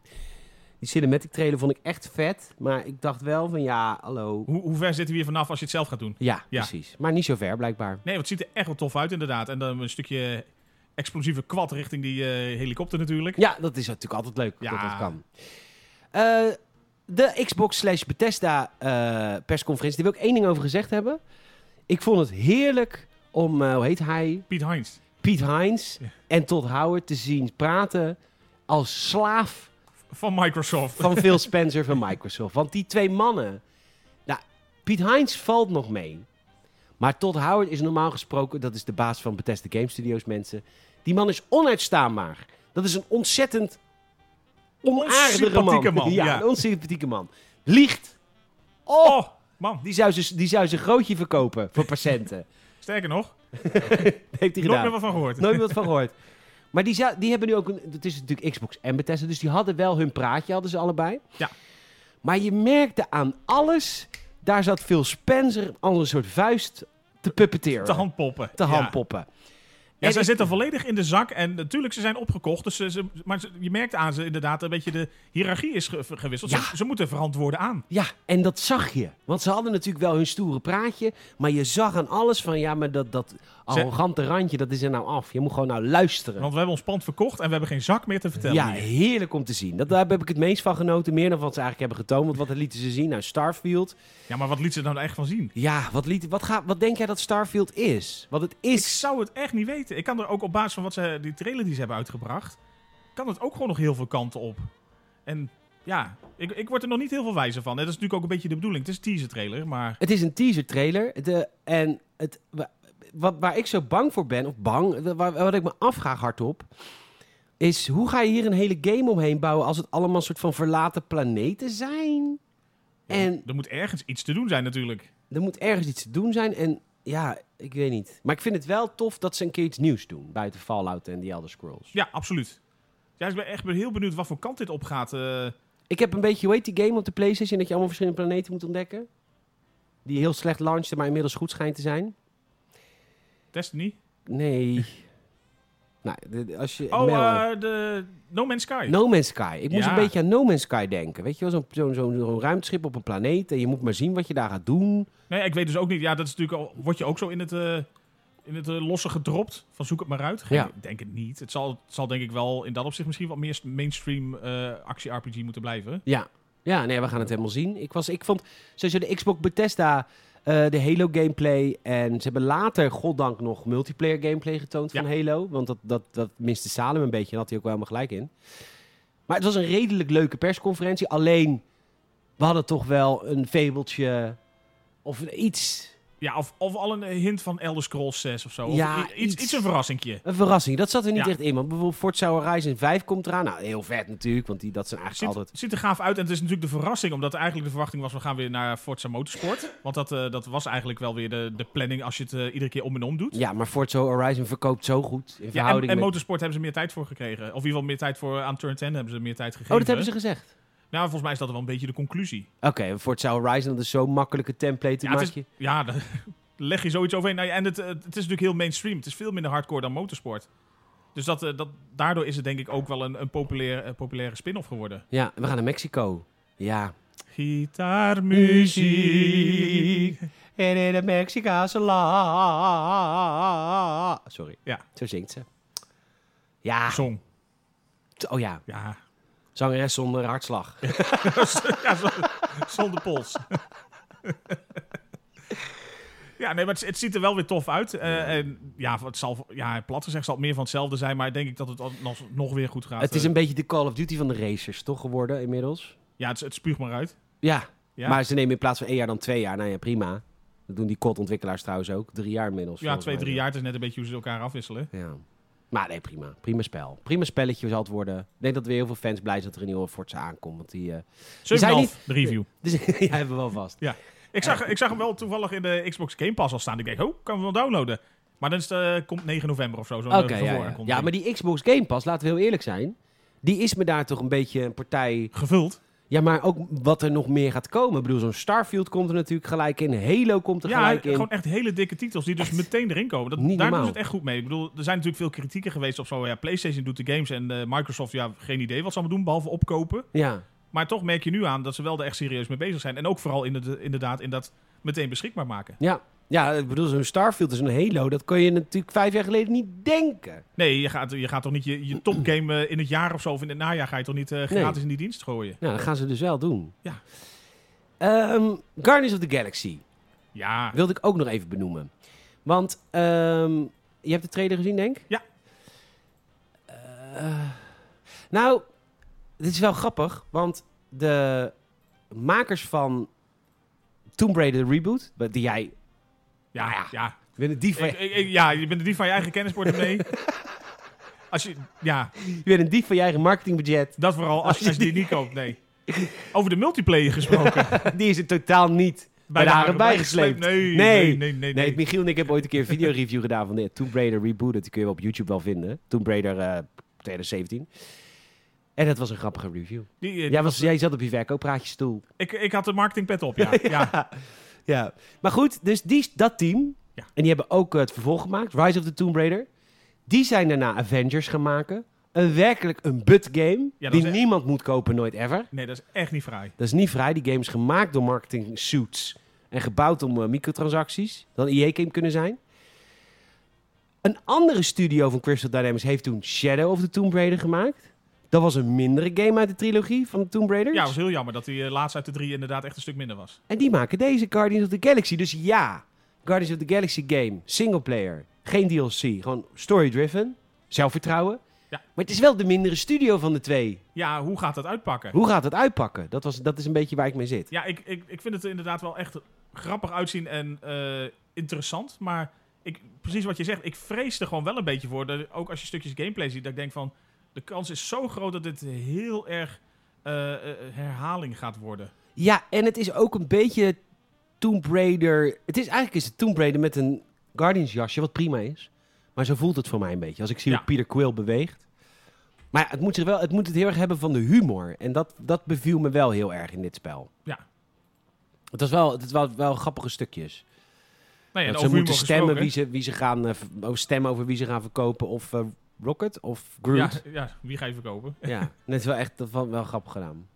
Speaker 1: die cinematic trailer vond ik echt vet. Maar ik dacht wel van ja, hallo.
Speaker 2: hoe, hoe ver zitten we hier vanaf als je het zelf gaat doen?
Speaker 1: Ja,
Speaker 2: Ja.
Speaker 1: precies. Maar niet zo ver blijkbaar.
Speaker 2: Nee, want het ziet er echt wel tof uit inderdaad. En dan een stukje explosieve kwad richting die eh, helikopter natuurlijk.
Speaker 1: Ja, dat is natuurlijk altijd leuk dat
Speaker 2: Ja.
Speaker 1: dat kan. Eh, de Xbox slash Bethesda eh, persconferentie. Daar wil ik één ding over gezegd hebben. Ik vond het heerlijk om, eh, hoe heet hij?
Speaker 2: Piet Heinz.
Speaker 1: Piet Heinz
Speaker 2: Ja.
Speaker 1: en Todd Howard te zien praten als slaaf
Speaker 2: Van Microsoft.
Speaker 1: van Phil Spencer van Microsoft. Want die twee mannen. Nou, Piet Heinz valt nog mee. Maar Todd Howard is normaal gesproken, dat is de baas van Bethesda Game Studios, mensen. Die man is onuitstaanbaar. Dat is een ontzettend onaardige
Speaker 2: Onsympathieke
Speaker 1: man.
Speaker 2: man,
Speaker 1: ja,
Speaker 2: ja.
Speaker 1: een onsympathieke man. Liegt. Oh,
Speaker 2: Oh, man.
Speaker 1: die zou ze- die zou zijn grootje verkopen voor patiënten. *laughs*
Speaker 2: Sterker nog,
Speaker 1: Dat heeft hij
Speaker 2: nooit
Speaker 1: gedaan.
Speaker 2: meer wat van gehoord.
Speaker 1: Nooit wat van gehoord. Maar die, zou- die hebben nu ook een. Het is natuurlijk Xbox en Bethesda, dus die hadden wel hun praatje, hadden ze allebei.
Speaker 2: Ja.
Speaker 1: Maar je merkte aan alles, daar zat Phil Spencer als een soort vuist te puppeteeren.
Speaker 2: Te handpoppen.
Speaker 1: te
Speaker 2: Ja.
Speaker 1: handpoppen.
Speaker 2: Ja,
Speaker 1: En
Speaker 2: zij
Speaker 1: ik-
Speaker 2: zitten volledig in de zak. En natuurlijk, ze zijn opgekocht. Dus ze, ze- maar ze- je merkt aan ze inderdaad een beetje de hiërarchie is ge- gewisseld.
Speaker 1: Ja.
Speaker 2: Ze, ze moeten verantwoorden aan.
Speaker 1: Ja, en dat zag je. Want ze hadden natuurlijk wel hun stoere praatje. Maar je zag aan alles van, ja, maar dat, dat arrogante randje, dat is er nou af. Je moet gewoon nou luisteren.
Speaker 2: Want we hebben ons pand verkocht en we hebben geen zak meer te vertellen.
Speaker 1: Ja,
Speaker 2: hier.
Speaker 1: heerlijk om te zien. Dat, daar heb ik het meest van genoten. Meer dan wat ze eigenlijk hebben getoond. Want wat lieten ze zien? Nou, Starfield.
Speaker 2: ja maar wat liet ze dan echt van zien?
Speaker 1: Ja, wat, liet, wat, ga, wat denk jij dat Starfield is? Wat het
Speaker 2: Ik
Speaker 1: is.
Speaker 2: zou het echt niet weten. Ik kan er ook op basis van wat ze, die trailer die ze hebben uitgebracht, kan het ook gewoon nog heel veel kanten op. En ja, ik, ik word er nog niet heel veel wijzer van. Dat is natuurlijk ook een beetje de bedoeling. Het is een teaser trailer, maar
Speaker 1: Het is een teaser trailer. De, en het, wa- wat, waar ik zo bang voor ben, of bang, wa- wa- wat ik me afvraag hardop, is hoe ga je hier een hele game omheen bouwen als het allemaal soort van verlaten planeten zijn? En
Speaker 2: er moet ergens iets te doen zijn natuurlijk.
Speaker 1: er moet ergens iets te doen zijn. En ja, ik weet niet. Maar ik vind het wel tof dat ze een keer iets nieuws doen buiten Fallout en The Elder Scrolls.
Speaker 2: Ja, absoluut. Ja, ik ben echt heel benieuwd wat voor kant dit opgaat. eh
Speaker 1: Ik heb een beetje, hoe heet die game op de PlayStation dat je allemaal verschillende planeten moet ontdekken? Die heel slecht launchte, maar inmiddels goed schijnt te zijn.
Speaker 2: Destiny.
Speaker 1: Nee. nou, de- de- als je.
Speaker 2: Oh,
Speaker 1: Mel-
Speaker 2: eh, de No Man's Sky.
Speaker 1: No Man's Sky. Ik moest
Speaker 2: Ja.
Speaker 1: een beetje aan No Man's Sky denken. Weet je wel, zo'n zo'n zo'n zo'n ruimteschip op een planeet. En je moet maar zien wat je daar gaat doen.
Speaker 2: Nee, ik weet dus ook niet. Ja, dat is natuurlijk al, word je ook zo in het, eh, in het eh, losse gedropt. Van zoek het maar uit. Geen-
Speaker 1: Ja.
Speaker 2: Ik denk het niet. Het zal, het zal denk ik wel in dat opzicht misschien wat meer mainstream eh, actie-RPG moeten blijven.
Speaker 1: Ja. Ja, nee, we gaan het helemaal zien. Ik, was, ik vond sowieso de Xbox Bethesda, eh, de Halo gameplay. En ze hebben later, goddank, nog multiplayer gameplay getoond van
Speaker 2: Ja.
Speaker 1: Halo. Want dat, dat, dat miste Salem een beetje. En had hij ook wel helemaal gelijk in. Maar het was een redelijk leuke persconferentie. Alleen, we hadden toch wel een fabeltje of iets.
Speaker 2: Ja, of, of al een hint van Elder Scrolls 6 of zo. Of
Speaker 1: Ja,
Speaker 2: i- iets,
Speaker 1: iets.
Speaker 2: iets een verrassingje.
Speaker 1: Een verrassing, dat zat er niet
Speaker 2: Ja.
Speaker 1: echt in. Want bijvoorbeeld Forza Horizon 5 komt eraan. Nou, heel vet natuurlijk, want die, dat zijn
Speaker 2: Ziet,
Speaker 1: eigenlijk altijd...
Speaker 2: ziet er gaaf uit. En het is natuurlijk de verrassing, omdat eigenlijk de verwachting was... we gaan weer naar Forza Motorsport. Want dat, eh, dat was eigenlijk wel weer de, de planning als je het eh, iedere keer om en om doet.
Speaker 1: Ja, maar Forza Horizon verkoopt zo goed in
Speaker 2: Ja, en,
Speaker 1: verhouding
Speaker 2: en
Speaker 1: met-
Speaker 2: Motorsport hebben ze meer tijd voor gekregen. Of in ieder geval meer tijd voor aan Turn 10 hebben ze meer tijd gegeven.
Speaker 1: Oh, dat hebben ze gezegd?
Speaker 2: Nou, volgens mij is dat wel een beetje de conclusie.
Speaker 1: Oké, Forza Horizon, dat is zo'n makkelijke template. te
Speaker 2: Ja, het
Speaker 1: maak
Speaker 2: is-
Speaker 1: je.
Speaker 2: Ja, *laughs* daar leg je zoiets overheen. Nou ja, en het, eh, het is natuurlijk heel mainstream. Het is veel minder hardcore dan motorsport. Dus dat, eh, dat, daardoor is het denk ik ook wel een, een populair, eh, populaire spin-off geworden.
Speaker 1: Ja, en we gaan naar Mexico. Ja.
Speaker 2: Gitaarmuziek.
Speaker 1: En in de Mexicaanse la... Sorry.
Speaker 2: Ja.
Speaker 1: Zo zingt ze. Ja.
Speaker 2: Ah. Song.
Speaker 1: Oh ja,
Speaker 2: Ja,
Speaker 1: zangeres zonder hartslag.
Speaker 2: ja z- *laughs* zonder pols. *laughs* ja, nee, maar het, het ziet er wel weer tof uit. Eh, En ja, het zal, ja, plat gezegd zal het meer van hetzelfde zijn. Maar ik denk ik dat het al- nog, nog weer goed gaat.
Speaker 1: het is
Speaker 2: Eh,
Speaker 1: een beetje de Call of Duty van de racers, toch, geworden inmiddels?
Speaker 2: Ja, het, het spuugt maar uit.
Speaker 1: Ja,
Speaker 2: Ja.
Speaker 1: Maar ze nemen in plaats van één jaar dan twee jaar. Nou ja, prima. Dat doen die COD-ontwikkelaars trouwens ook. Drie jaar inmiddels.
Speaker 2: Ja,
Speaker 1: volgens
Speaker 2: twee,
Speaker 1: mij.
Speaker 2: drie jaar. Het is net een beetje hoe ze elkaar afwisselen.
Speaker 1: Ja. Maar nee, prima. Prima spel. Prima spelletje zal het worden. Ik denk dat weer heel veel fans blij zijn dat er een nieuwe Forza aankomt. Want die... eh, *laughs* zijn
Speaker 2: 7,5, de review.
Speaker 1: dus die hebben we wel vast.
Speaker 2: *laughs* Ik zag, ik zag hem wel toevallig in de Xbox Game Pass al staan. Ik denk, oh, kan we wel downloaden. Maar dan is het, eh, komt 9 november of zo. Zo'n
Speaker 1: Oké,
Speaker 2: eh,
Speaker 1: ja, ja.
Speaker 2: vervolgaankondiging.
Speaker 1: ja, maar die Xbox Game Pass, laten we heel eerlijk zijn... Die is me daar toch een beetje een partij...
Speaker 2: Gevuld.
Speaker 1: Ja, maar ook wat er nog meer gaat komen. Ik bedoel, zo'n Starfield komt er natuurlijk gelijk in. Halo komt er
Speaker 2: Ja,
Speaker 1: gelijk in.
Speaker 2: gewoon echt hele dikke titels die dus meteen erin komen. Dat,
Speaker 1: Niet
Speaker 2: daar
Speaker 1: normaal.
Speaker 2: doen ze het echt goed mee. Ik bedoel, er zijn natuurlijk veel kritieken geweest op zo. Ja, PlayStation doet de games en eh, Microsoft, ja, geen idee wat ze allemaal doen, behalve opkopen.
Speaker 1: Ja.
Speaker 2: Maar toch merk je nu aan dat ze wel er echt serieus mee bezig zijn. En ook vooral in het- inderdaad in dat meteen beschikbaar maken.
Speaker 1: Ja. ja, ik bedoel, zo'n Starfield is een Halo. Dat kon je natuurlijk vijf jaar geleden niet denken.
Speaker 2: Nee, je gaat, je gaat toch niet je, je topgame eh, in het jaar of zo of in het najaar ga je toch niet eh, gratis in die dienst gooien.
Speaker 1: Nou, dat gaan ze dus wel doen.
Speaker 2: Ja.
Speaker 1: Ehm, Guardians of the Galaxy
Speaker 2: Ja,
Speaker 1: wilde ik ook nog even benoemen. Want ehm, je hebt de trailer gezien, denk ik?
Speaker 2: Ja.
Speaker 1: Eh, nou, dit is wel grappig, want de makers van Tomb Raider Reboot, die jij...
Speaker 2: ja,
Speaker 1: Nou ja.
Speaker 2: ja. ja.
Speaker 1: Ik ben een dief van,
Speaker 2: Ik- ik- ik- ja, je bent de dief van je eigen kennisportemonnee. Als je, ja,
Speaker 1: je, bent een dief van je eigen marketingbudget.
Speaker 2: dat vooral als, je- als je die niet koopt, nee. Over de multiplayer gesproken.
Speaker 1: Die is er totaal niet bij de haren bijgesleept.
Speaker 2: Nee,
Speaker 1: Nee.
Speaker 2: nee, nee, *laughs* nee. nee,
Speaker 1: Nee, Michiel en ik hebben ooit een keer een videoreview gedaan van de Tomb Raider Rebooted. Die kun je wel op YouTube wel vinden. Tomb Raider eh 2017. En dat was een grappige review.
Speaker 2: Die, eh,
Speaker 1: Jij, was, jij zat op je verkooppraatjesstoel.
Speaker 2: ik, ik had de marketingpet op, ja. ja.
Speaker 1: Ja. Maar goed, dus die, dat team.
Speaker 2: Ja.
Speaker 1: En die hebben ook eh, het vervolg gemaakt. Rise of the Tomb Raider. Die zijn daarna Avengers gaan maken. Een werkelijk een but game.
Speaker 2: Ja, dat
Speaker 1: die
Speaker 2: is echt-
Speaker 1: niemand moet kopen, nooit ever.
Speaker 2: Nee, dat is echt niet fraai.
Speaker 1: Dat is niet vrij. Die game is gemaakt door marketing suits. En gebouwd om eh, microtransacties. Dan EA game kunnen zijn. Een andere studio van Crystal Dynamics heeft toen Shadow of the Tomb Raider gemaakt. Dat was een mindere game uit de trilogie van de Tomb Raiders.
Speaker 2: Ja, het was heel jammer dat die eh, laatste uit de drie inderdaad echt een stuk minder was.
Speaker 1: En die maken deze Guardians of the Galaxy. Dus ja, Guardians of the Galaxy game, singleplayer, geen DLC, gewoon story-driven, zelfvertrouwen.
Speaker 2: Ja.
Speaker 1: Maar het is wel de mindere studio van de twee.
Speaker 2: Ja, hoe gaat dat uitpakken?
Speaker 1: Hoe gaat het uitpakken? Dat, was, dat is een beetje waar ik mee zit.
Speaker 2: Ja, ik, ik, ik vind het er inderdaad wel echt grappig uitzien en eh, interessant. Maar ik, precies wat je zegt, ik vrees er gewoon wel een beetje voor. Dat, ook als je stukjes gameplay ziet, dat ik denk van... De kans is zo groot dat dit heel erg eh, eh, herhaling gaat worden.
Speaker 1: Ja, en het is ook een beetje Tomb Raider. Het is eigenlijk is het Tomb Raider met een Guardians jasje, wat prima is. Maar zo voelt het voor mij een beetje. Als ik zie
Speaker 2: Ja.
Speaker 1: hoe Peter Quill beweegt. Maar ja, het moet, zich wel, het moet het heel erg hebben van de humor. En dat, dat beviel me wel heel erg in dit spel.
Speaker 2: Ja.
Speaker 1: Het was wel, het was wel grappige stukjes.
Speaker 2: Nou ja,
Speaker 1: dat
Speaker 2: en
Speaker 1: ze
Speaker 2: over
Speaker 1: moeten
Speaker 2: humor
Speaker 1: stemmen
Speaker 2: gesproken.
Speaker 1: wie ze, wie ze gaan, eh, v- over stemmen over wie ze gaan verkopen. Of eh, Rocket of Groot.
Speaker 2: Ja, ja, wie ga je verkopen?
Speaker 1: Ja.
Speaker 2: *laughs*
Speaker 1: Dat is wel echt dat was wel grappig gedaan.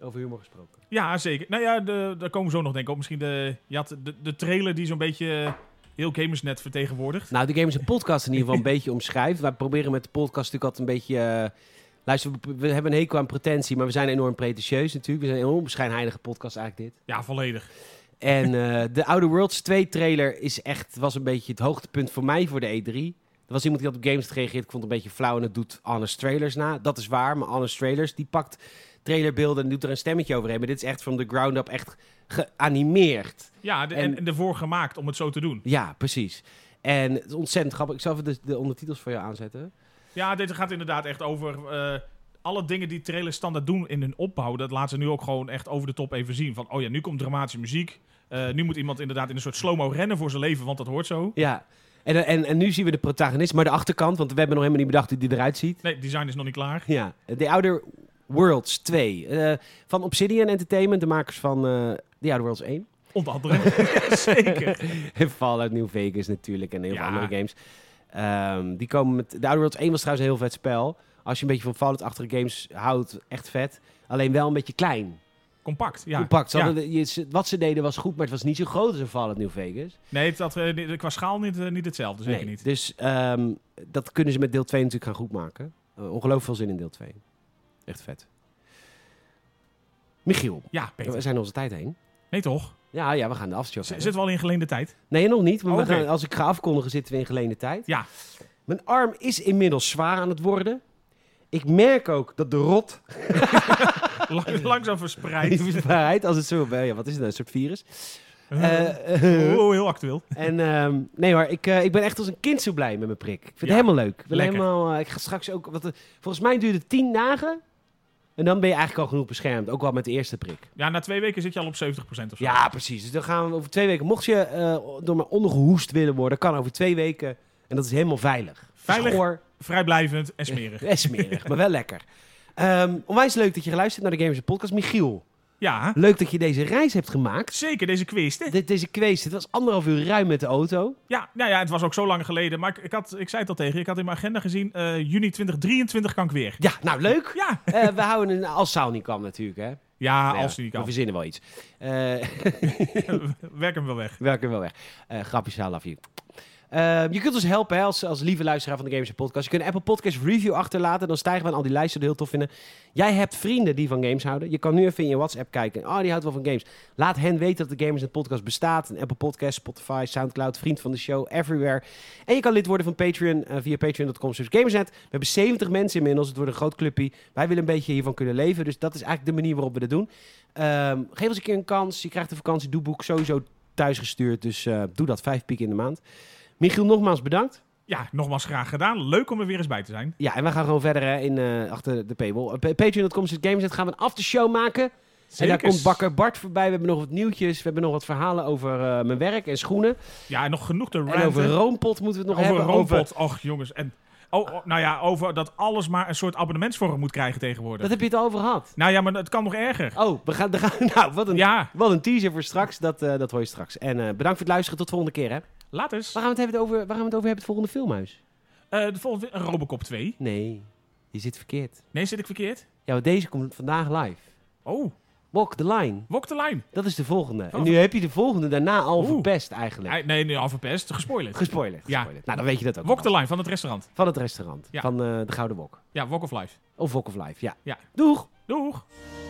Speaker 1: Over humor gesproken.
Speaker 2: Ja, zeker. Nou ja, de, daar komen we zo nog denk ik op. Misschien de, je had de, de trailer die zo'n beetje heel Gamersnet vertegenwoordigt.
Speaker 1: Nou, de game is een podcast in ieder geval een beetje omschrijft. Wij proberen met de podcast natuurlijk altijd een beetje... eh, luister, we, we hebben een hekel aan pretentie, maar we zijn enorm pretentieus natuurlijk. We zijn een onbeschijnheilige podcast eigenlijk dit.
Speaker 2: Ja, volledig.
Speaker 1: En eh, de Outer Worlds 2 trailer is echt, was een beetje het hoogtepunt voor mij voor de E3. Er was iemand die had op games gereageerd. Ik vond het een beetje flauw en het doet Honest Trailers na. Dat is waar, maar Honest Trailers die pakt trailerbeelden en doet er een stemmetje overheen. Maar dit is echt van de ground up echt geanimeerd.
Speaker 2: Ja, de,
Speaker 1: En-
Speaker 2: en, en ervoor gemaakt om het zo te doen.
Speaker 1: Ja, precies. En het is ontzettend grappig. Ik zal even de, de ondertitels voor jou aanzetten.
Speaker 2: Ja, dit gaat inderdaad echt over eh, alle dingen die trailers standaard doen in hun opbouw. Dat laten ze nu ook gewoon echt over de top even zien. Van, oh ja, nu komt dramatische muziek. Eh, nu moet iemand inderdaad in een soort slow-mo rennen voor zijn leven, want dat hoort zo.
Speaker 1: Ja. En, en, en nu zien we de protagonist, maar de achterkant, want we hebben nog helemaal niet bedacht hoe die eruit ziet.
Speaker 2: Nee, het design is nog niet klaar.
Speaker 1: Ja. The Outer Worlds 2. eh, van Obsidian Entertainment, de makers van eh The Outer Worlds 1.
Speaker 2: Onder andere. Zeker.
Speaker 1: En *laughs* Fallout New Vegas natuurlijk en heel veel
Speaker 2: Ja.
Speaker 1: andere games. Ehm, die komen met... The Outer Worlds 1 was trouwens een heel vet spel. Als je een beetje van Fallout-achtige games houdt, echt vet. Alleen wel een beetje klein,
Speaker 2: Compact, ja.
Speaker 1: compact. Ze
Speaker 2: Ja.
Speaker 1: hadden de- je- ze- wat ze deden was goed, maar het was niet zo groot als een Fallout New Vegas.
Speaker 2: Nee, het had, eh, niet- qua schaal niet, eh, niet hetzelfde, zeker
Speaker 1: Nee,
Speaker 2: niet.
Speaker 1: Dus ehm, dat kunnen ze met deel 2 natuurlijk gaan goedmaken. Eh, ongelooflijk veel zin in deel 2. Echt vet. Michiel,
Speaker 2: Ja,
Speaker 1: we
Speaker 2: Peter.
Speaker 1: zijn onze tijd heen.
Speaker 2: Nee toch?
Speaker 1: Ja, ja, we gaan de afshow
Speaker 2: Z- zitten we al in geleende
Speaker 1: *laughs*
Speaker 2: tijd?
Speaker 1: Nee, nog niet. Maar we
Speaker 2: Oh, oké.
Speaker 1: gaan, als ik ga afkondigen, zitten we in geleende tijd.
Speaker 2: Ja.
Speaker 1: Mijn arm is inmiddels zwaar aan het worden. Ik merk ook dat de rot
Speaker 2: Lang- langzaam verspreid.
Speaker 1: Die *laughs* verspreid als het zo bij. Ja, wat is het nou? Een soort
Speaker 2: *laughs*
Speaker 1: virus. Eh,
Speaker 2: oh, heel actueel.
Speaker 1: En ehm, nee hoor, ik, eh, ik ben echt als een kind zo blij met mijn prik. Ik vind het
Speaker 2: Ja,
Speaker 1: helemaal leuk. Ik, ben
Speaker 2: lekker.
Speaker 1: helemaal, eh, ik ga straks ook. Wat, de- volgens mij duurde het tien dagen. En dan ben je eigenlijk al genoeg beschermd. Ook wel met de eerste prik.
Speaker 2: Ja, na twee weken zit je al op 70% of zo.
Speaker 1: Ja, precies. Dus dan gaan we over twee weken. Mocht je eh, door me ondergehoest willen worden, kan over twee weken. En dat is helemaal veilig.
Speaker 2: Veilig.
Speaker 1: Schoor,
Speaker 2: Vrijblijvend en smerig.
Speaker 1: en smerig, maar wel lekker. Ehm, onwijs leuk dat je geluisterd hebt naar de Gamers Podcast. Michiel,
Speaker 2: Ja,
Speaker 1: leuk dat je deze reis hebt gemaakt.
Speaker 2: zeker deze quiz. hè?
Speaker 1: Dit, deze quiz, het was anderhalf uur ruim met de auto.
Speaker 2: Ja, nou ja, het was ook zo lang geleden. Maar ik, ik, had, ik zei het al tegen je, ik had in mijn agenda gezien, eh, juni 2023 kan ik weer.
Speaker 1: Ja, nou leuk.
Speaker 2: Ja,
Speaker 1: Eh, we houden een als Saul niet kwam natuurlijk, hè?
Speaker 2: ja
Speaker 1: Nou ja,
Speaker 2: Ah, als die
Speaker 1: We
Speaker 2: kan.
Speaker 1: verzinnen wel iets. Eh *laughs*
Speaker 2: *laughs* Werk hem wel weg.
Speaker 1: Welkom wel weg. Eh grapjes, I love you. Eh, je kunt ons helpen hè, als, als lieve luisteraar van de Games Podcast. Je kunt een Apple Podcast review achterlaten. Dan stijgen we aan al die lijsten die we heel tof vinden. Jij hebt vrienden die van games houden. Je kan nu even in je WhatsApp kijken. Oh, die houdt wel van games. Laat hen weten dat de Gamers Podcast bestaat. Een Apple Podcast, Spotify, Soundcloud, vriend van de show, everywhere. En je kan lid worden van Patreon eh, via patreon.com. slash Gamersnet. We hebben 70 mensen inmiddels. Het wordt een groot clubje. Wij willen een beetje hiervan kunnen leven. Dus dat is eigenlijk de manier waarop we dat doen. Ehm, geef ons een keer een kans. Je krijgt een vakantiedoeboek sowieso thuis gestuurd. Dus eh, doe dat vijf piek in de maand. Michiel, nogmaals bedankt.
Speaker 2: Ja, nogmaals graag gedaan. Leuk om er weer eens bij te zijn.
Speaker 1: Ja, en wij gaan gewoon verder hè, in, eh, achter de paywall. Op eh, Patreon.com zit Gameset. Gaan we een aftershow maken. En daar komt bakker Bart voorbij. We hebben nog wat nieuwtjes. We hebben nog wat verhalen over eh, mijn werk en schoenen.
Speaker 2: Ja, en nog genoeg te
Speaker 1: En
Speaker 2: ranten.
Speaker 1: over roompot moeten we het nog
Speaker 2: Over
Speaker 1: hebben.
Speaker 2: robot. Och, jongens. En, oh, oh, nou ja, over dat alles maar een soort abonnementsvorm moet krijgen tegenwoordig.
Speaker 1: Dat heb je het al over gehad.
Speaker 2: Nou ja, maar het kan nog erger.
Speaker 1: Oh, we gaan... we gaan *laughs* nou, wat een,
Speaker 2: Ja,
Speaker 1: wat een teaser voor straks. Dat, eh, dat hoor je straks. En eh, bedankt voor het luisteren. Tot de volgende keer, hè.
Speaker 2: laat eens.
Speaker 1: Waar gaan we het hebben over, waar gaan we het, over hebben, het volgende filmhuis?
Speaker 2: Eh, de volgende, Robocop 2.
Speaker 1: Nee, je zit verkeerd.
Speaker 2: Nee, zit ik verkeerd?
Speaker 1: Ja, want deze komt vandaag live.
Speaker 2: Oh,
Speaker 1: Walk the Line.
Speaker 2: Walk the Line.
Speaker 1: Dat is de volgende. En
Speaker 2: Oh.
Speaker 1: nu heb je de volgende daarna al
Speaker 2: Oeh.
Speaker 1: verpest eigenlijk.
Speaker 2: Nee, nee, nee al verpest. Gespoilerd.
Speaker 1: Gespoilerd.
Speaker 2: Ja.
Speaker 1: gespoilerd. Nou, dan weet je dat ook.
Speaker 2: Walk
Speaker 1: wel.
Speaker 2: the Line van het restaurant.
Speaker 1: Van het restaurant.
Speaker 2: Ja.
Speaker 1: Van eh, de Gouden Wok.
Speaker 2: Ja, Walk of Life.
Speaker 1: Of Wok of Life, ja.
Speaker 2: Ja.
Speaker 1: Doeg!
Speaker 2: Doeg!